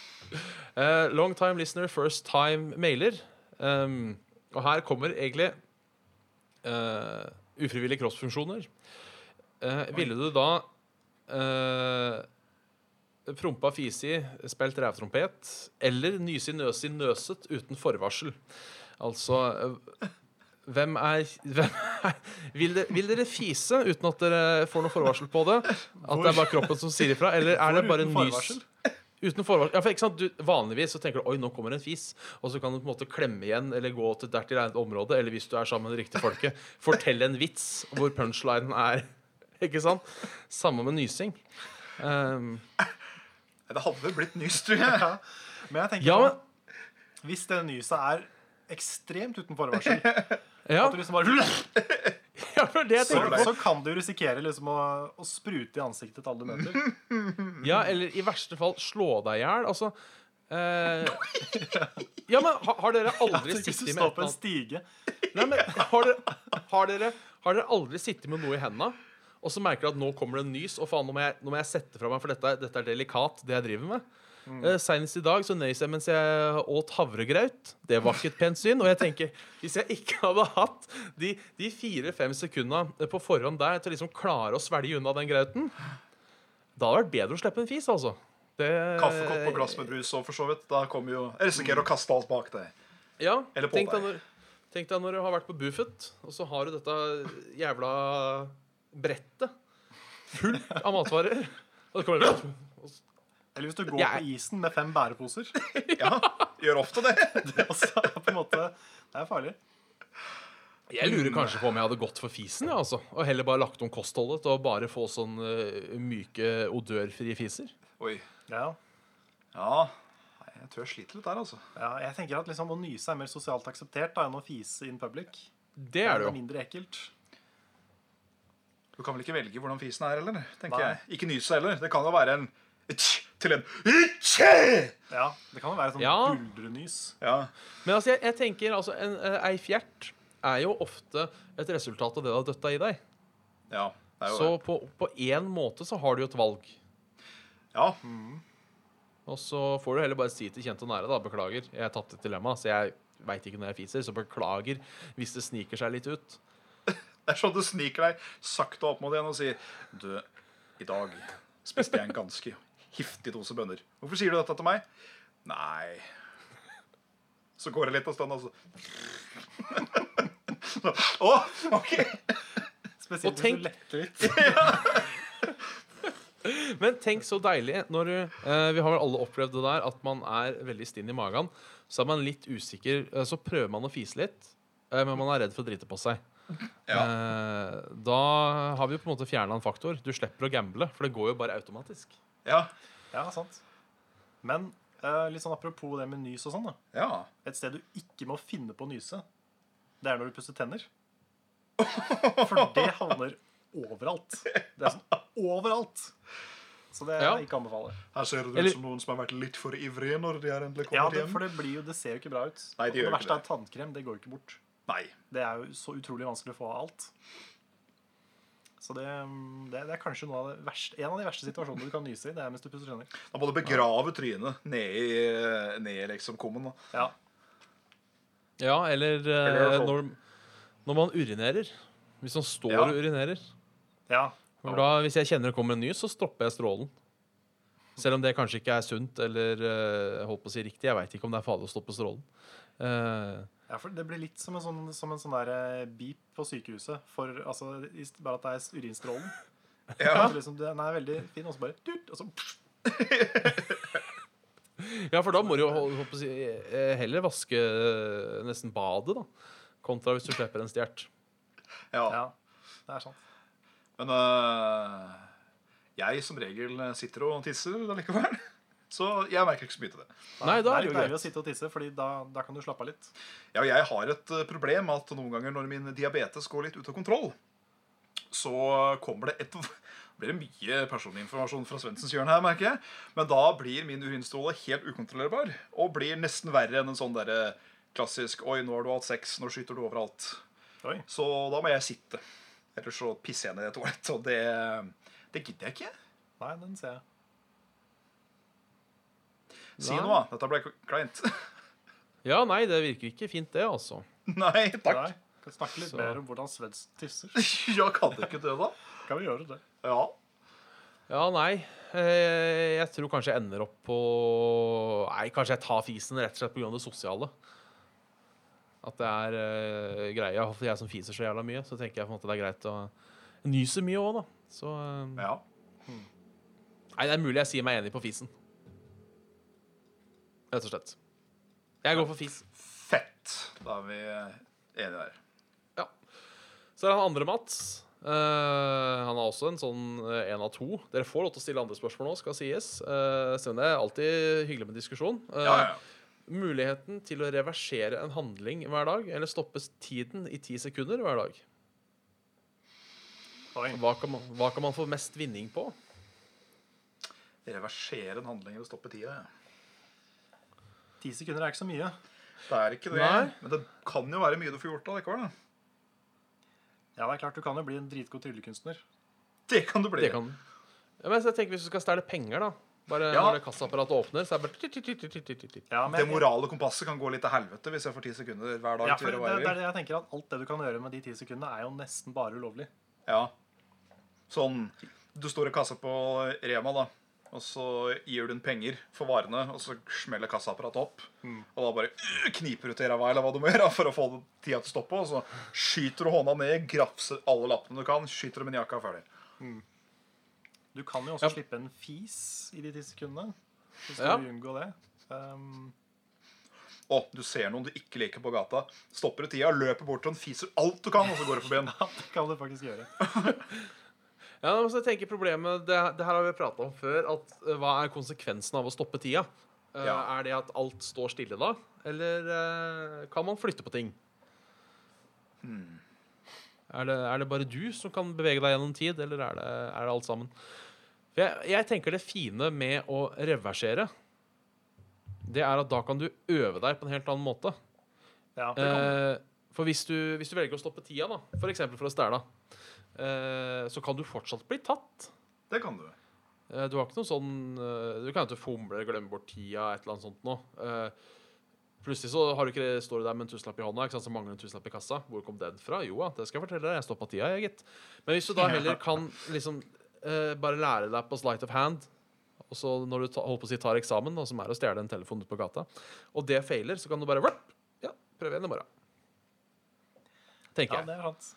eh, long time listener, first time mailer. Um, og her kommer egentlig eh, ufrivillige kroppsfunksjoner. Eh, ville du da eh, prompa, fisi, spilt rævtrompet eller nysi, nøsi, nøset uten forvarsel? Altså eh, hvem er, hvem er vil, dere, vil dere fise uten at dere får noe forvarsel på det? At det er bare kroppen som sier ifra? Eller er det Hvor bare uten nys? forvarsel? Uten forvarsel. Ja, for ikke sant? Du, vanligvis så tenker du oi, nå kommer en fis, og så kan du på en måte klemme igjen eller gå til et dertil egnet område, eller hvis du er sammen med det riktige folket, fortelle en vits hvor punchlinen er. Ikke sant? Samme med nysing. Um, Det hadde blitt nys, tror jeg. Men jeg tenker ja, sånn, hvis det nyset er ekstremt uten forvarsel. Ja, At du liksom bare, ja for det jeg så, tenker på. så kan du risikere liksom å, å sprute i ansiktet til alle du møter. Ja, eller i verste fall slå deg i hjel. Altså eh, Ja, men har, har dere aldri Hvis du sittet står med et på en eller stige annet Nei, men har dere, har, dere, har dere aldri sittet med noe i henda? Og så merker du at nå kommer det en nys, og faen, nå må jeg, nå må jeg sette fra meg, for dette, er- dette er delikat, det jeg driver med. Mm. Eh, Senest i dag så nøys jeg mens jeg åt havregraut. Det var ikke et pent syn. Og jeg tenker, hvis jeg ikke hadde hatt de, de fire-fem sekunda på forhånd der til å liksom klare å svelge unna den grauten, da hadde det vært bedre å slippe en fis, altså. Det, Kaffekopp og glass med brus og for så vidt. Da kommer jo Jeg risikerer å kaste alt bak deg. Ja, Eller på tenk deg. deg, når, tenk deg når du har vært på Buffett, og så har du dette jævla brettet fullt av matvarer. Og så kommer det sånn, Eller hvis du går Jeg- på isen med fem bæreposer. Ja, gjør ofte det. Det, også er på en måte, det er farlig. Jeg lurer kanskje på om jeg hadde gått for fisen, ja, altså. og heller bare lagt om kostholdet til å bare få sånn eh, myke, odørfrie fiser. Oi. Ja, Ja. Nei, jeg tror jeg sliter litt der, altså. ja, jeg tenker at liksom Å nyse er mer sosialt akseptert da enn å fise in public. Det er det jo. mindre ekkelt. Du kan vel ikke velge hvordan fisen er heller? tenker Nei. jeg. Ikke nyse heller. Det kan jo være en tsk til en tsk! Ja, Det kan jo være sånn Ja. buldrenys. Ja. Men altså, jeg, jeg tenker altså, en, eh, ei fjert er jo ofte et resultat av det du har døtta i deg. ja. Det er jo, Så på på én måte så har du jo et valg. ja. Og så får du heller bare si til kjente og nære da, beklager, jeg tapte et dilemma, så jeg veit ikke når jeg fiser, så beklager hvis det sniker seg litt ut. Det er sånn du sniker deg sakte opp mot en og sier Du, i dag spiste jeg en ganske giftig dose bønner. Hvorfor sier du dette til meg? Nei Så går det litt av stund, altså. Å, OK! Spesielt Og tenk- hvis du letter litt. Men tenk så deilig når du eh, Vi har vel alle opplevd det der, at man er veldig stinn i magen. Så er man litt usikker, eh, så prøver man å fise litt, eh, men man er redd for å drite på seg. Eh, da har vi jo på en måte fjerna en faktor. Du slipper å gamble, for det går jo bare automatisk. Ja. Ja, sant. Men eh, litt sånn apropos det med nys og sånn. da Ja. Et sted du ikke må finne på å nyse, det er når du pusser tenner. For det havner overalt. Det er sånn overalt. Så det er Ja. jeg ikke å anbefale. Her ser det Eller- ut som noen som har vært litt for ivrige når de har endelig Ja, kommet det, hjem. for det, blir jo, det ser jo ikke bra ut. Nei, det gjør og det ikke verste det. er tannkrem. Det går jo ikke bort. Nei. Det er jo så utrolig vanskelig å få av alt. Så det, mm, det, det er kanskje noe av det verste, en av de verste situasjonene du kan nyse i. Det er mens du pusser tenner. Da må du begrave trynet nedi ned liksom kummen. da. Ja, Ja, eller, eh, Eller sånn. når, når man urinerer. Hvis man står Ja. og urinerer. ja, For da, hvis jeg kjenner det kommer en ny, så stopper jeg strålen. Selv om det kanskje ikke er sunt eller eh, holdt på å si riktig. Jeg veit ikke om det er farlig å stoppe strålen. Eh, ja for det blir litt som en sånn, som en sånn der eh, beep på sykehuset. For, altså, i st- bare at det er urinstrålen. Ja. Så liksom, den er veldig fin, og så bare tut, og så pff, ja, for da må du jo holdt holdt på å si, eh, heller vaske eh, nesten badet, da. Kontra hvis du slipper en stjert. ja. Ja, det er sant. Men øh, jeg som regel sitter og tisser allikevel. Så jeg merker ikke så mye til det. Nei, da er det det er jo deilig å greit. sitte og tisse, Fordi da, da kan du slappe av litt. Ja, og jeg har et øh, problem at noen ganger når min diabetes går litt ut av kontroll, så kommer det et blir det mye personinformasjon fra Svendsens hjørne her, merker jeg. Men da blir min urinstråle helt ukontrollerbar. Og blir nesten verre enn en sånn derre klassisk 'Oi, nå har du hatt sex. Nå skyter du overalt'. Oi. Så da må jeg sitte. Ellers så pisser jeg ned i et toalett. Og det, det gidder jeg ikke. Nei, den ser jeg. Si noe, da. Dette ble kleint. Ja, nei, det virker ikke fint, det, altså. Nei, takk. Nei, kan snakke litt Så. mer om hvordan Svens tisser. Ja, kan du ikke det, da? Kan vi gjøre det? Ja. Ja, nei. Eh, Jeg tror kanskje jeg ender opp på Nei, kanskje jeg tar fisen rett og slett pga. det sosiale. At det er eh, greia. For jeg som fiser så jævla mye, så tenker jeg på en måte det er greit å nyse mye òg, da. Så eh, ja. Nei, det er mulig jeg sier meg enig på fisen. Rett og slett. Jeg går for fis. Fett. Da er vi enige der. Ja. Så er det han andre Mats. Eh, han er også en sånn eh, en av to. Dere får lov til å stille andre spørsmål nå, skal sies. Uh, det er alltid hyggelig med diskusjon. Eh, Ja, ja, ja. Muligheten til å reversere en handling hver dag, eller stoppes tiden i ti sekunder hver dag. Oi. Hva kan man, hva kan man få mest vinning på? Reversere en handling eller stoppe tida. Ja. Ti sekunder er ikke så mye. Det er ikke det. Nei. Men det kan jo være mye du får gjort allikevel. da. Ja, det er klart, Du kan jo bli en dritgod tryllekunstner. Det kan du bli. Det kan ja, men jeg tenker Hvis du skal stjele penger, da Bare Ja. når det kassaapparatet åpner, så er det bare titt, titt, titt, titt, titt, titt, titt. Ja, men- Det morale kompasset kan gå litt til helvete hvis jeg får ti sekunder hver dag. Ja, til for å det, gjøre hva jeg det vil. er det jeg tenker at Alt det du kan gjøre med de ti sekundene, er jo nesten bare ulovlig. Ja. Sånn Du står i kassa på Rema, da. Og så gir du den penger for varene, og så smeller kassaapparatet opp. Og da bare øh, kniper du til ræva eller hva du må gjøre for å få tida til å stoppe. Og så skyter du hånda ned, grafser alle lappene du kan, skyter dem i jakka ferdig. Du kan jo også Ja. slippe en fis i de ti sekundene. Så skal Ja. du unngå det. Ehm, Å, du ser noen du ikke liker på gata. Stopper du tida, løper bort til den, fiser alt du kan, og så går du forbi den. ja, det kan du faktisk gjøre. Ja, men så jeg tenker problemet Det, det her har vi prata om før. At eh, Hva er konsekvensen av å stoppe tida? Eh, Ja. Er det at alt står stille da? Eller eh, kan man flytte på ting? Hmm. Er, det, er det bare du som kan bevege deg gjennom tid, eller er det, er det alt sammen? For jeg, jeg tenker det fine med å reversere, det er at da kan du øve deg på en helt annen måte. Ja, det kan. Eh, for hvis du, hvis du velger å stoppe tida, da, for eksempel for å stjele, eh, så kan du fortsatt bli tatt. Det kan du. Eh, Du har ikke noe sånn eh, Du kan jo ikke fomle eller glemme bort tida, et eller annet sånt nå. Eh, Plutselig så har du ikke det, står du der med en tusenlapp i hånda, ikke sant, så mangler du en tusenlapp i kassa. Hvor kom den fra? Jo ja, det skal jeg fortelle deg. Jeg stoppa tida, jeg, gitt. Men hvis du da heller kan liksom eh, bare lære deg på sleight of hand, og så når du ta, holdt på å si tar eksamen, da, som er å stjele en telefon ute på gata, og det feiler, så kan du bare vrp, Ja, prøve igjen i morgen. Tenker Ja, jeg. det er sant.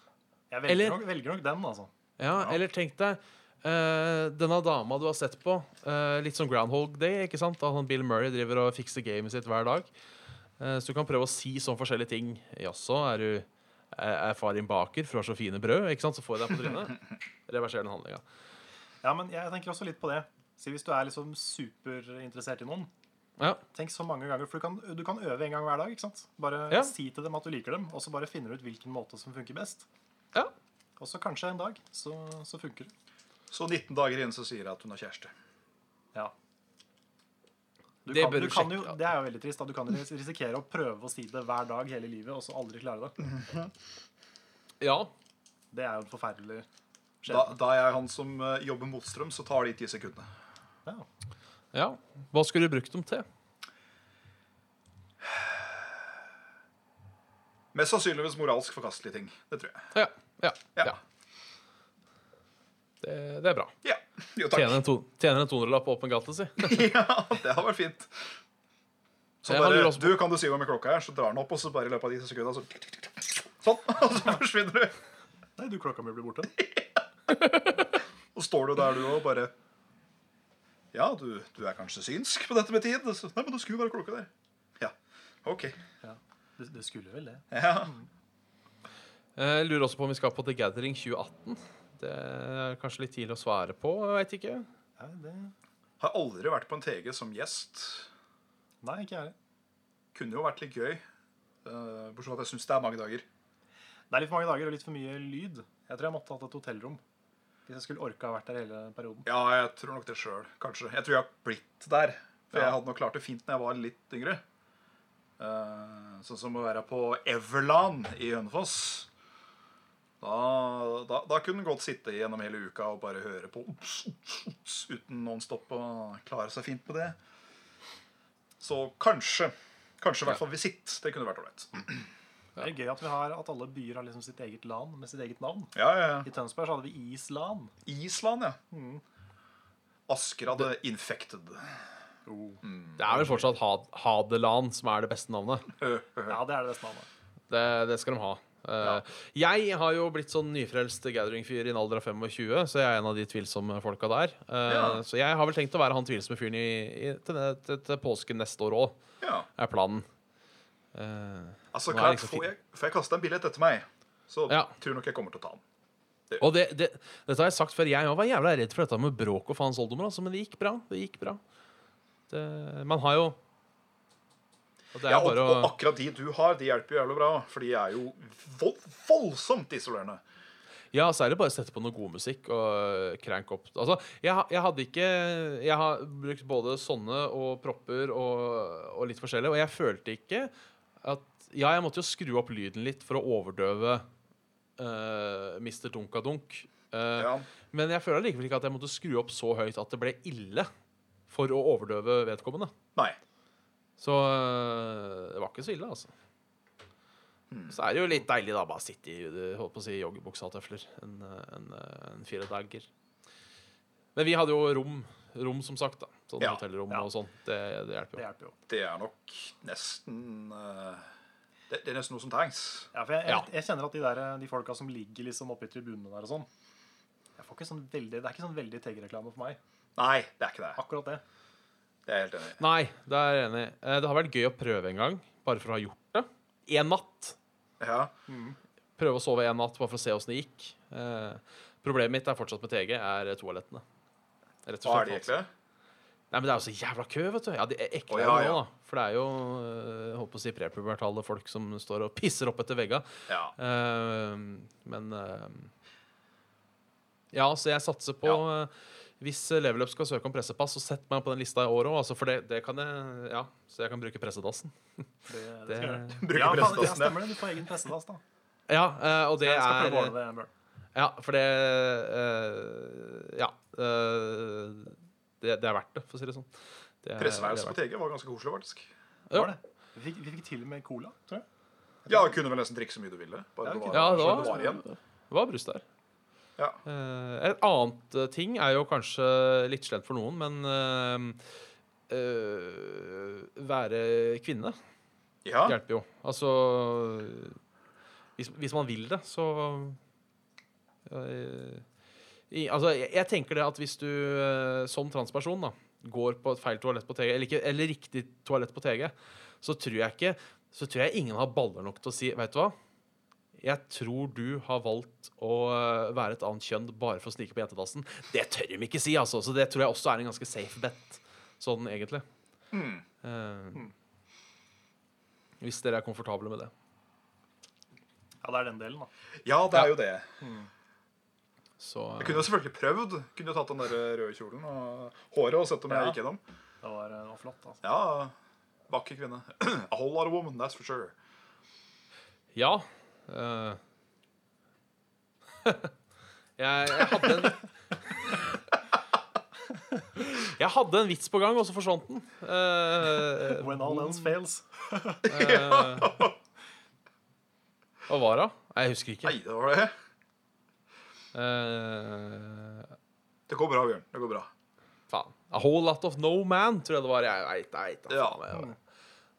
Jeg velger, Eller- nok, velger nok den, altså. Ja, eller tenk deg eh, denne dama du har sett på, eh, litt som Groundhog Day, ikke sant? Da han Bill Murray driver og fikser gamet sitt hver dag. Eh, så du kan prøve å si sånn forskjellige ting. Jaså, er du er er far din baker, for du har så fine brød? Ikke sant? Så får jeg deg på trynet. Reverser den handlinga. Ja, men jeg tenker også litt på det. Si hvis du er liksom superinteressert i noen. Ja. Tenk så mange ganger, for du kan, du kan øve en gang hver dag. ikke sant? Bare Ja. si til dem at du liker dem, og så bare finner du ut hvilken måte som funker best. ja. Og så kanskje en dag, så, så funker det. Så 19 dager inn så sier jeg at hun har kjæreste. Ja. Du Det kan, bør du du kan sjekke, jo, ja. det er jo veldig trist. Da. Du kan ris- risikere å prøve å si det hver dag hele livet, og så aldri klare det. ja. Det er jo en forferdelig Da, skjebne. da er jeg han som eh, jobber motstrøm, så tar de ti sekundene. Ja. Ja. Hva skulle du brukt dem til? Mest sannsynligvis moralsk forkastelige ting. Det tror jeg. Ja. Ja. Ja. ja. Det, det er bra. Ja, jo takk. Tjener en, to, tjener en 200-lapp på åpen gate, si. Ja, det har vært fint. Så Jeg har bare, lurt også du kan du si hva med klokka er, så drar den opp, og så bare i løpet av de sekundene så Sånn, og så forsvinner du. Nei, du, klokka mi blir borte. Og står du der, du òg, bare Ja, du, du er kanskje synsk på dette med tid? Og Så, Nei, men det skulle jo være klokka der. Ja, OK. Det, det skulle vel det. Ja. Eh, Jeg lurer også på om vi skal på The Gathering 2018. Det er kanskje litt tidlig å svare på. Jeg vet ikke. Nei, det. Har aldri vært på en TG som gjest. Nei ikke jeg heller. Kunne jo vært litt gøy. eh, Bortsett fra at jeg syns det er mange dager. Det er litt for mange dager og litt for mye lyd. Jeg tror jeg måtte hatt et hotellrom. Hvis jeg skulle orka å vært der hele perioden. Ja, jeg tror nok det sjøl, kanskje. Jeg tror jeg har blitt der. For Ja. jeg hadde nok klart det fint når jeg var litt yngre. Eh, sånn som å være på Everland i Hønefoss. Da, da, da kunne en godt sitte gjennom hele uka og bare høre på ups, ups, ups, uten nonstop og klare seg fint med det. Så kanskje. Kanskje i hvert fall visitt. Det kunne vært ålreit. Det er gøy at vi har at alle byer har liksom sitt eget land med sitt eget navn. Ja, ja, ja. I Tønsberg så hadde vi Island. Island, ja. Mm. Asker hadde infected. Det er vel fortsatt Had Hadeland som er det beste navnet. Ja, det er det beste navnet. Det, det skal de ha. Eh, Jeg har jo blitt sånn nyfrelst gathering-fyr i en alder av 25, så jeg er en av de tvilsomme folka der. Eh, Ja. Så jeg har vel tenkt å være han tvilsomme fyren i, i, til, til, til påsken neste år òg, Ja. er planen. Eh, Altså, Nå er klart, det ikke så får fint. jeg, får jeg kasta en billett etter meg, så Ja. tror nok jeg kommer til å ta den. Og det, det, dette har jeg sagt før. Jeg var jævla redd for dette med bråk og faens oldedommer, altså, men det gikk bra. Det gikk bra. Det, man har jo Og det er Ja, og, bare å og akkurat de du har, de hjelper jo jævlig bra. For de er jo vo- voldsomt isolerende. Ja, så er det bare å sette på noe god musikk og crank opp. Altså, jeg, ha- jeg hadde ikke Jeg har brukt både sånne og propper og, og litt forskjellig, og jeg følte ikke at Ja, jeg måtte jo skru opp lyden litt for å overdøve eh, Mr. Dunkadunk. Eh, Ja. Men jeg føler likevel ikke at jeg måtte skru opp så høyt at det ble ille for å overdøve vedkommende. Nei. Så øh, det var ikke så ille, altså. Hmm. Så er det jo litt deilig, da. Bare sitte i øh, holdt på å si, joggebuksa og tøfler en, øh, en, øh, en fire dager. Men vi hadde jo rom, rom som sagt. da Sånn Ja. hotellrom Ja. og sånn. Det, det hjelper Det jo. hjelper jo. Det er nok nesten eh, det, det er nesten noe som trengs. Ja, for jeg, jeg, Ja. jeg kjenner at de, der, de folka som ligger liksom oppe i tribunene der og sånn jeg får ikke sånn veldig, Det er ikke sånn veldig TG-reklame for meg. Nei, det er ikke det. Akkurat det. Det er jeg helt enig i. Nei, det er jeg enig i. Eh, Det har vært gøy å prøve en gang, bare for å ha gjort det. En natt. Ja. Prøve å sove en natt, bare for å se åssen det gikk. Eh, problemet mitt er fortsatt med TG, er toalettene. Rett og Hva slett. er det altså. egentlig? Nei, men det er jo så jævla kø, vet du. Ja, de er ekle Å, ja, nå, ja. da. For det er jo øh, holdt på å si prepubertale folk som står og pisser opp etter vegga. Ja. Ehm, men ehm, Ja, så jeg satser på øh, Hvis Leveløp skal søke om pressepass, så sett meg på den lista i år òg, altså, for det, det kan jeg Ja, så jeg kan bruke pressedassen. det, det, Det, skal jeg gjøre. Bruker Ja, faen, det prestedassen det. stemmer det. Du får egen prestedass, da. ja, øh, og det Jeg skal prøve å er ordne det. Amber. Ja, for det øh, Ja. øh, det, det er verdt det, for å si det sånn. Det er- det Presseværelset er på TG var ganske koselig, faktisk. Ja. Var det? Vi fikk, vi fikk til og med cola, tror jeg. Ja, du kunne vel nesten drikke så mye du ville. Bare Ja, det ok. var, Ja, det så var, var igjen. det var brus der. Ja. Eh, et annet eh, ting er jo kanskje litt slemt for noen, men eh, eh, Være kvinne Ja. hjelper jo. Altså hvis, hvis man vil det, så eh, i, Altså, jeg, jeg tenker det at hvis du eh, som transperson da går på et feil toalett på TG, eller, ikke, eller riktig toalett på TG, så tror jeg ikke Så tror jeg ingen har baller nok til å si Vet du hva? Jeg tror du har valgt å eh, være et annet kjønn bare for å snike på jentedassen. Det tør de ikke si, altså. Så det tror jeg også er en ganske safe bet, sånn egentlig. Mm. Eh, Hmm. Hvis dere er komfortable med det. Ja, det er den delen, da. ja, det er jo det. Så eh, Jeg kunne jo selvfølgelig prøvd. Kunne jo tatt den der røde kjolen og håret og sett om jeg Ja. gikk gjennom. Det var, det var flott. altså. Ja, vakker kvinne. A whole lot of woman, that's for sure. Ja. eh. jeg, jeg hadde en Jeg hadde en vits på gang, og så forsvant den. Eh, When all else fails. Hva var det? Nei, Jeg husker ikke. Nei, det var det. Eh, Det går bra, Bjørn. Det går bra. faen. A whole lot of no man, tror jeg det var. Jeg vet, jeg vet, Ja. faen, jeg vet.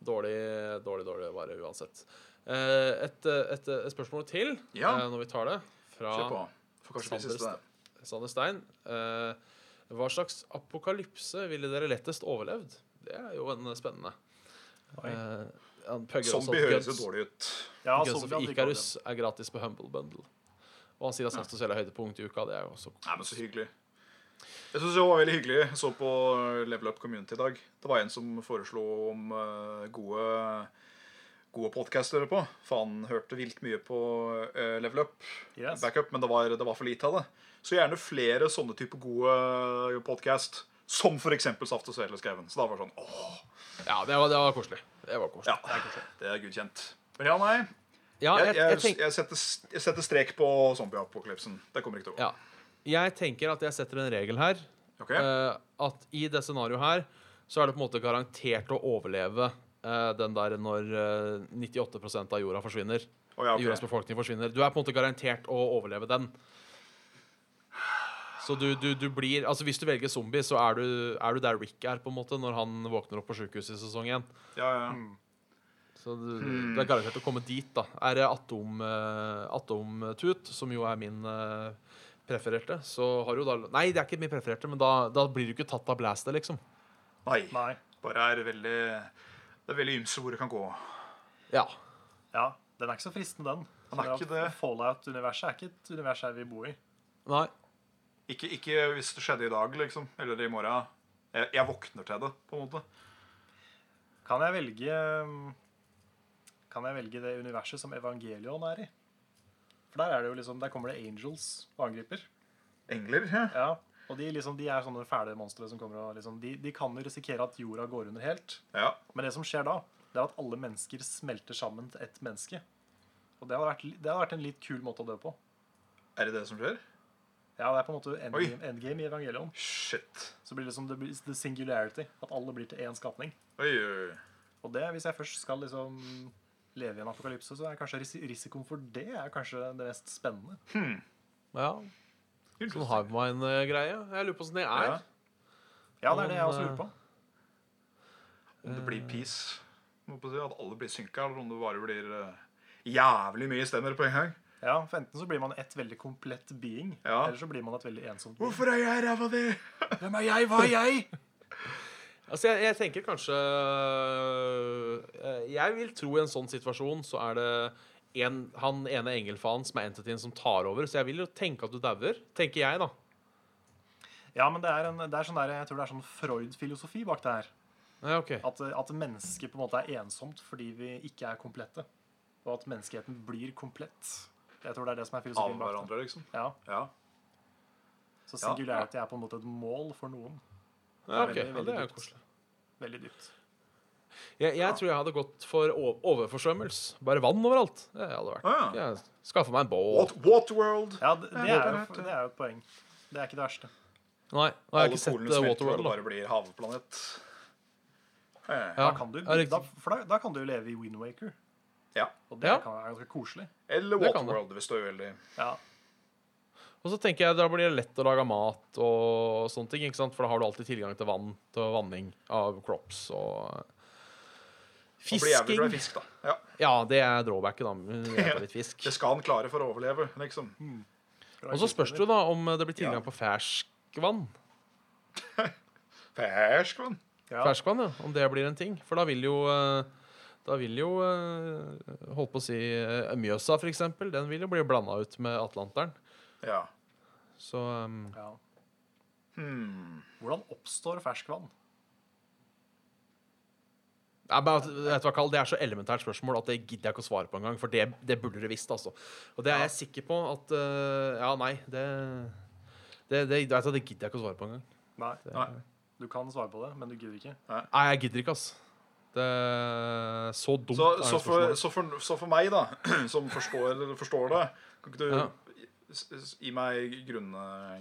Dårlig, dårlig, dårlig vare uansett. Eh, et, et, et spørsmål til Ja. eh, når vi tar det, fra Kjør på. Får kanskje bli Sander siste. det. Sander Stein. eh, hva slags apokalypse ville dere lettest overlevd? Det er jo en spennende. Oi. Eh, han pugger også Zombie at høres jo Guns- dårlig ut. Ja, Guns zombie of hadde ikke Icarus gått er gratis på Humble Bundle. Og han sier at Sankthansfjell er høydepunkt i uka. Det er jo også Nei, men så hyggelig. Jeg synes det var veldig hyggelig. Jeg så på Level Up Community i dag. Det var en som foreslo om eh, gode, gode podcaster å høre på. For han hørte vilt mye på eh, Level Up igjen. Yes. Backup, men det var, det var for lite av det. Så gjerne flere sånne type gode eh, podcast. Som for eksempel Saft og Svele Skauen. Så da var det sånn åh, Ja, det var, det var koselig. Det var koselig. ja, det er gudkjent. Men ja, nei. Ja, Jeg, jeg, jeg, jeg, tenk, jeg, setter, jeg setter strek på zombieapokalypsen. Det kommer ikke til å gå. ja. jeg tenker at jeg setter en regel her. Ok? eh, at i det scenarioet her så er det på en måte garantert å overleve eh, den der når eh, 98 av jorda forsvinner. Å, ja, ok. jordas befolkning forsvinner. Du er på en måte garantert å overleve den. Så du, du, du blir Altså Hvis du velger zombie, så er du, er du der Rick er på en måte når han våkner opp på sjukehuset i sesong én. Ja, ja. Mm. Så du, du er garantert å komme dit, da. Er det atom, eh, atomtut, som jo er min eh, prefererte, så har du da Nei, det er ikke min prefererte, men da, da blir du ikke tatt av blastet, liksom. Nei. Nei. Bare er veldig Det er veldig ymse hvor det kan gå. Ja. Ja, den er ikke så fristende, den. Han er ikke det. Fallout-universet er ikke et univers her vi bor i. Nei. Ikke, ikke hvis det skjedde i dag, liksom. Eller i morgen. Jeg, jeg våkner til det, på en måte. Kan jeg velge um, Kan jeg velge det universet som Evangelion er i? For der er det jo liksom Der kommer det angels og angriper. Engler? hæ? Ja, og de, liksom, de er sånne fæle monstre som kommer og liksom de, de kan jo risikere at jorda går under helt. Ja. Men det som skjer da, det er at alle mennesker smelter sammen til ett menneske. Og det hadde vært, li- det hadde vært en litt kul måte å dø på. Er det det som skjer? Ja, det er på en måte Oi. endgame, endgame i Evangelion. Shit. Så blir det liksom the, the singularity. At alle blir til én skapning. Oi, oi, oi. Og det, hvis jeg først skal liksom leve i en apokalypse, så er kanskje risi- risikoen for det er kanskje det mest spennende. Ja. Sånn hive mind-greie. Jeg lurer på åssen det er. Ja. Ja, det er det jeg også lurer på. Om det blir peace. Må på si, at alle blir synka, eller om det bare blir eh, jævlig mye stemmer på en gang. Ja, for Enten så blir man et veldig komplett being, Ja. eller så blir man et veldig ensomt being. Hvorfor er jeg ræva di? Hvem er jeg? Hva er jeg? Altså, jeg, jeg tenker kanskje øh, Jeg vil tro i en sånn situasjon så er det en, han ene engelfaen som er entityen som tar over. Så jeg vil jo tenke at du dauer. Tenker jeg, da. Ja, men det er, en, det er sånn der, jeg tror det er sånn Freud-filosofi bak det her. Ja, ok. At, at mennesket på en måte er ensomt fordi vi ikke er komplette. Og at menneskeheten blir komplett. Jeg tror det er det som er Av filosofien bak det. hverandre, liksom. Ja, Ja. så Ja, ja. singularity er på en måte et mål for noen. Ja, ok. Det er veldig, Ja, det er veldig koselig. Veldig dypt. Jeg, jeg tror jeg hadde gått for o- overforsvømmelse. Bare vann overalt. Det hadde vært. Ah, ja. Jeg skaffa meg en båt. What, Waterworld. Ja, det, det, Ja, er, det er jo, det er jo et poeng. Det er ikke det verste. Nei, nå har jeg Alle ikke sett polene eh, smelter, og Waterworld. det Da. bare blir havplanet. Eh, Ja. Da kan du, Ja, riktig. da, for da, da kan du jo leve i Windwaker. Ja. Og det Ja. kan være ganske koselig. Eller Det kan det. Waterworld, hvis du er uheldig. Ja, Og så tenker jeg da blir det lett å lage mat og sånne ting, ikke sant? for da har du alltid tilgang til vann, til vanning av crops og Man blir jævlig glad Fisking. i fisk, da. Ja. Ja, det er drawbacket, da. men jeg tar litt fisk. Det skal han klare for å overleve, liksom. Mm. Og så spørs det jo da om det blir tilgang på ferskvann. Ferskvann. Ja. Ferskvann, ja. Om det blir en ting. For da vil jo eh, Da vil jo eh, Holdt på å si eh, Mjøsa, for eksempel. Den vil jo bli blanda ut med Atlanteren. Ja. Så eh, Ja. Hmm. Hvordan oppstår ferskvann? Nei, men at- vet du hva, Karl, Det er så elementært spørsmål at det gidder jeg ikke å svare på engang. For det, det burde du visst. altså. Og det er jeg sikker på at eh, Ja, nei, det det, det, vet du, det gidder jeg ikke å svare på engang. Nei, Nei. du kan svare på det, men du gidder ikke. Nei, jeg gidder ikke, altså. Det er så dumt. Så, er det så, for, spørsmålet. så, for, så for meg, da, som forstår, forstår det Kan ikke du Ja. s- s- gi meg grunn,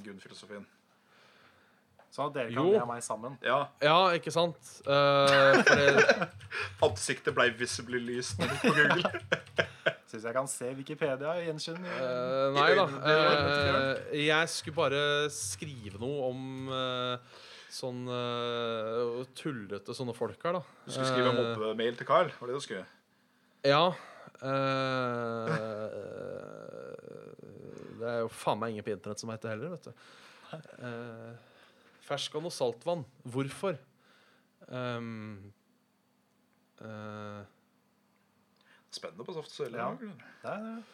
grunnfilosofien? Sånn at dere Jo. kan le av meg sammen. Ja. Ja, ikke sant? Eh, for det, Ansiktet ble visibly lyst når du gikk på Google. Syns jeg kan se Wikipedia gjenkjenne. eh, nei da. Eh, jeg skulle bare skrive noe om eh, sånn eh, tullete sånne folk her, da. Du skulle skrive en Eh, mobbemail til Carl. Var det det du skulle? Ja. eh, det er jo faen meg ingen på internett som heter heller, vet du. Eh, ferskvann og saltvann. Hvorfor? Um, eh, Spennende på Soft Cell. Ja. Ja. Det er det.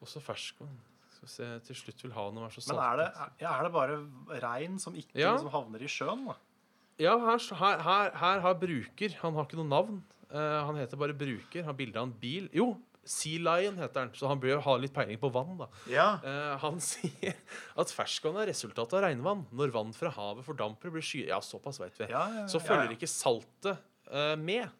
også ferskvann. Skal vi se, til slutt vil ha noe være så Men saltvann. er det, er- ja, er det bare rein som ikke Ja. liksom havner i sjøen? Da? Ja, her, her, her, her har bruker Han har ikke noe navn. Eh, han heter bare bruker. Har bilde av en bil. Jo, Sea Lion heter han, så han bør ha litt peiling på vann, da. ja. Eh, han sier at ferskvann er resultatet av regnvann. Når vann fra havet fordamper, blir skyer Ja, såpass vet vi. Ja, ja, ja. Så følger ikke saltet eh, med.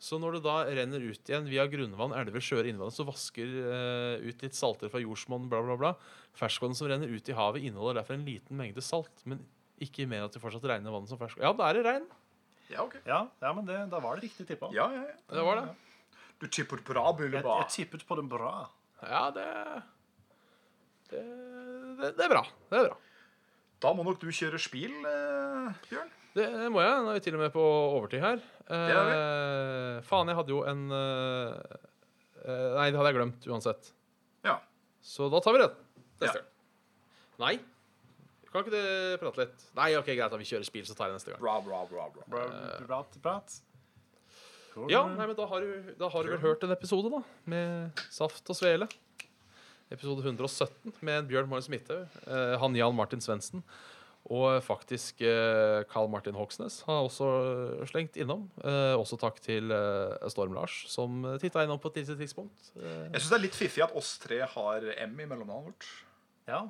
Så når det da renner ut igjen via grunnvann, elver, sjøer, innvann, så vasker eh, ut litt salter fra jordsmonn, bla, bla, bla. Ferskvann som renner ut i havet, inneholder derfor en liten mengde salt. Men ikke mer at det fortsatt regner vann som ferskvann. Ja, da er det regn. ja, ok. Ja, ja, men det, da var det riktig tippa. Ja, ja, ja. Det var det. Du tipper bra, Jeg, Buliba. jeg tippet på den bra. Ja, det Det, det, det er bra. Det er bra. Da må nok du kjøre spil, eh, Bjørn. Det må jeg. Nå er vi til og med på overtid her. Det er Eh, faen, jeg hadde jo en eh, eh, Nei, det hadde jeg glemt uansett. Ja. Så da tar vi den. Ja. Neste gang. Nei. Kan ikke du prate litt? Nei, ok, greit, da vi kjører spill, så tar jeg neste gang. Eh, Bra, bra, bra, bra. Bra, prat, prat. Cool. Ja, nei, men da har, du, da har du vel hørt en episode, da. Med Saft og Svele. Episode 117 med en Bjørn Marius Midthaug. eh, han Jan Martin Svendsen. Og faktisk eh, Carl Martin Hoksnes har også slengt innom. Eh, også takk til eh, Storm Lars, som titta innom på et tidlig tidspunkt. Eh, Jeg syns det er litt fiffig at oss tre har M i mellomnavnet vårt. Ja.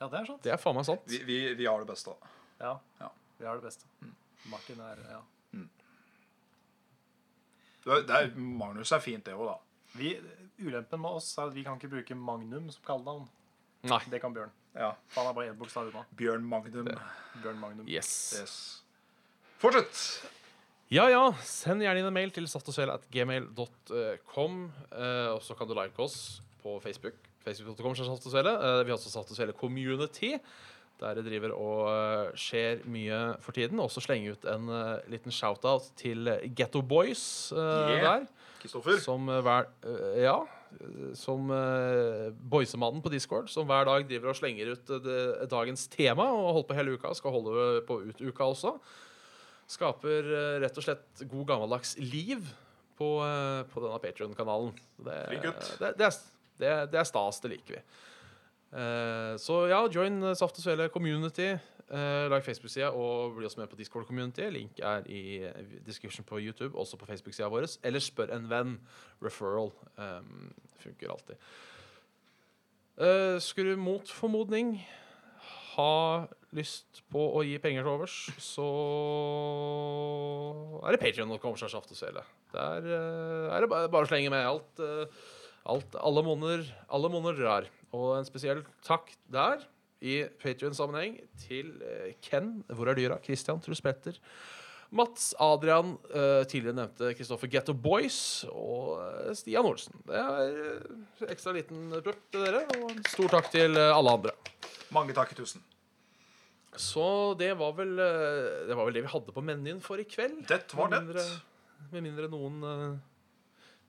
ja, det er sant. det er faen meg sant. Vi, vi, vi har det beste. Ja. Ja. Mm. Vi har det beste. Martin er ja. Det er, det er, Magnus er fint, det òg, da. vi, Ulempen med oss er at vi kan ikke bruke Magnum som kallenavn. Nei. Det kan Bjørn. Ja. For Han er bare én bokstav unna. Bjørn Magnum. Bjørn Magnum. Yes. Yes. Fortsett. Ja ja, send gjerne inn en mail til saftosel.gmail.com. Eh, og så kan du like oss på Facebook. Facebook.com slash saftosvele. Eh, vi har også Saftosvele Community, der jeg driver og eh, skjer mye for tiden. Også slenge ut en eh, liten shout-out til Getto Boys eh, Yeah. der. Kristoffer. Som eh, hver eh, Ja. eh, Som eh, boysemannen på Discord, som hver dag driver og slenger ut eh, det, dagens tema og har holdt på hele uka. Skal holde eh, på ut uka også. Skaper eh, rett og slett god gammeldags liv på, eh, på denne Patrion-kanalen. Det, Flink gutt. det, det, er, det, det er stas. Det liker vi. Eh, så ja, join eh, Saft og Svele community. Eh, like Facebook-sida og bli også med på Discord-community. Link er i eh, description på YouTube, også på Facebook-sida vår. Eller spør en venn. Referral ehm, funker alltid. Eh, skulle du mot formodning ha lyst på å gi penger til overs, så er det Patrion.com som er saft og svele. Der eh, er det bare, bare å slenge med alt. eh, alt alle måneder, alle måneder rar. Og en spesiell takk der, i Patrion-sammenheng, til eh, Ken, Hvor er dyra? Christian, Truls Petter. Mats, Adrian, eh, tidligere nevnte Kristoffer Getto Boys og eh, Stian Olsen. Det er eh, ekstra liten propp til dere, og en stor takk til eh, alle andre. Mange takk i tusen. Så det var vel eh, Det var vel det vi hadde på menyen for i kveld. Det var Med det. mindre- Med mindre noen eh,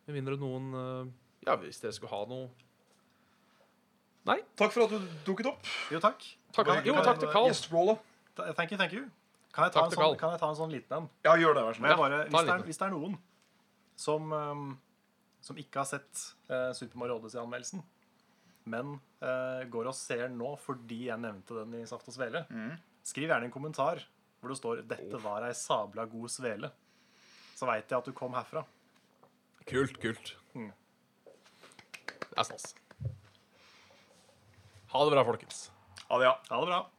Med mindre noen eh, Ja, hvis dere skulle ha noe Takk for at du dukket opp. Jo, takk. Takk, Kan- jo, kan- takk til Carl. Gjestrolle. Ta- Thank you, thank you. Kan jeg ta, Takk en til Carl. sånn, kan jeg ta en sånn liten en? Ja, gjør det, vær så Må jeg snill. ta bare, en hvis, det er, liten. hvis det er noen som, ehm, som ikke har sett eh, Super Mario Odyssey-anmeldelsen, men eh, går og ser den nå fordi jeg nevnte den i Saft og Svele, Mm. skriv gjerne en kommentar hvor det står 'Dette var ei sabla god svele'. Så veit jeg at du kom herfra. Kult, kult. Mm. Det er stas. Ha det bra, folkens. Ha det, ja. Ha det bra.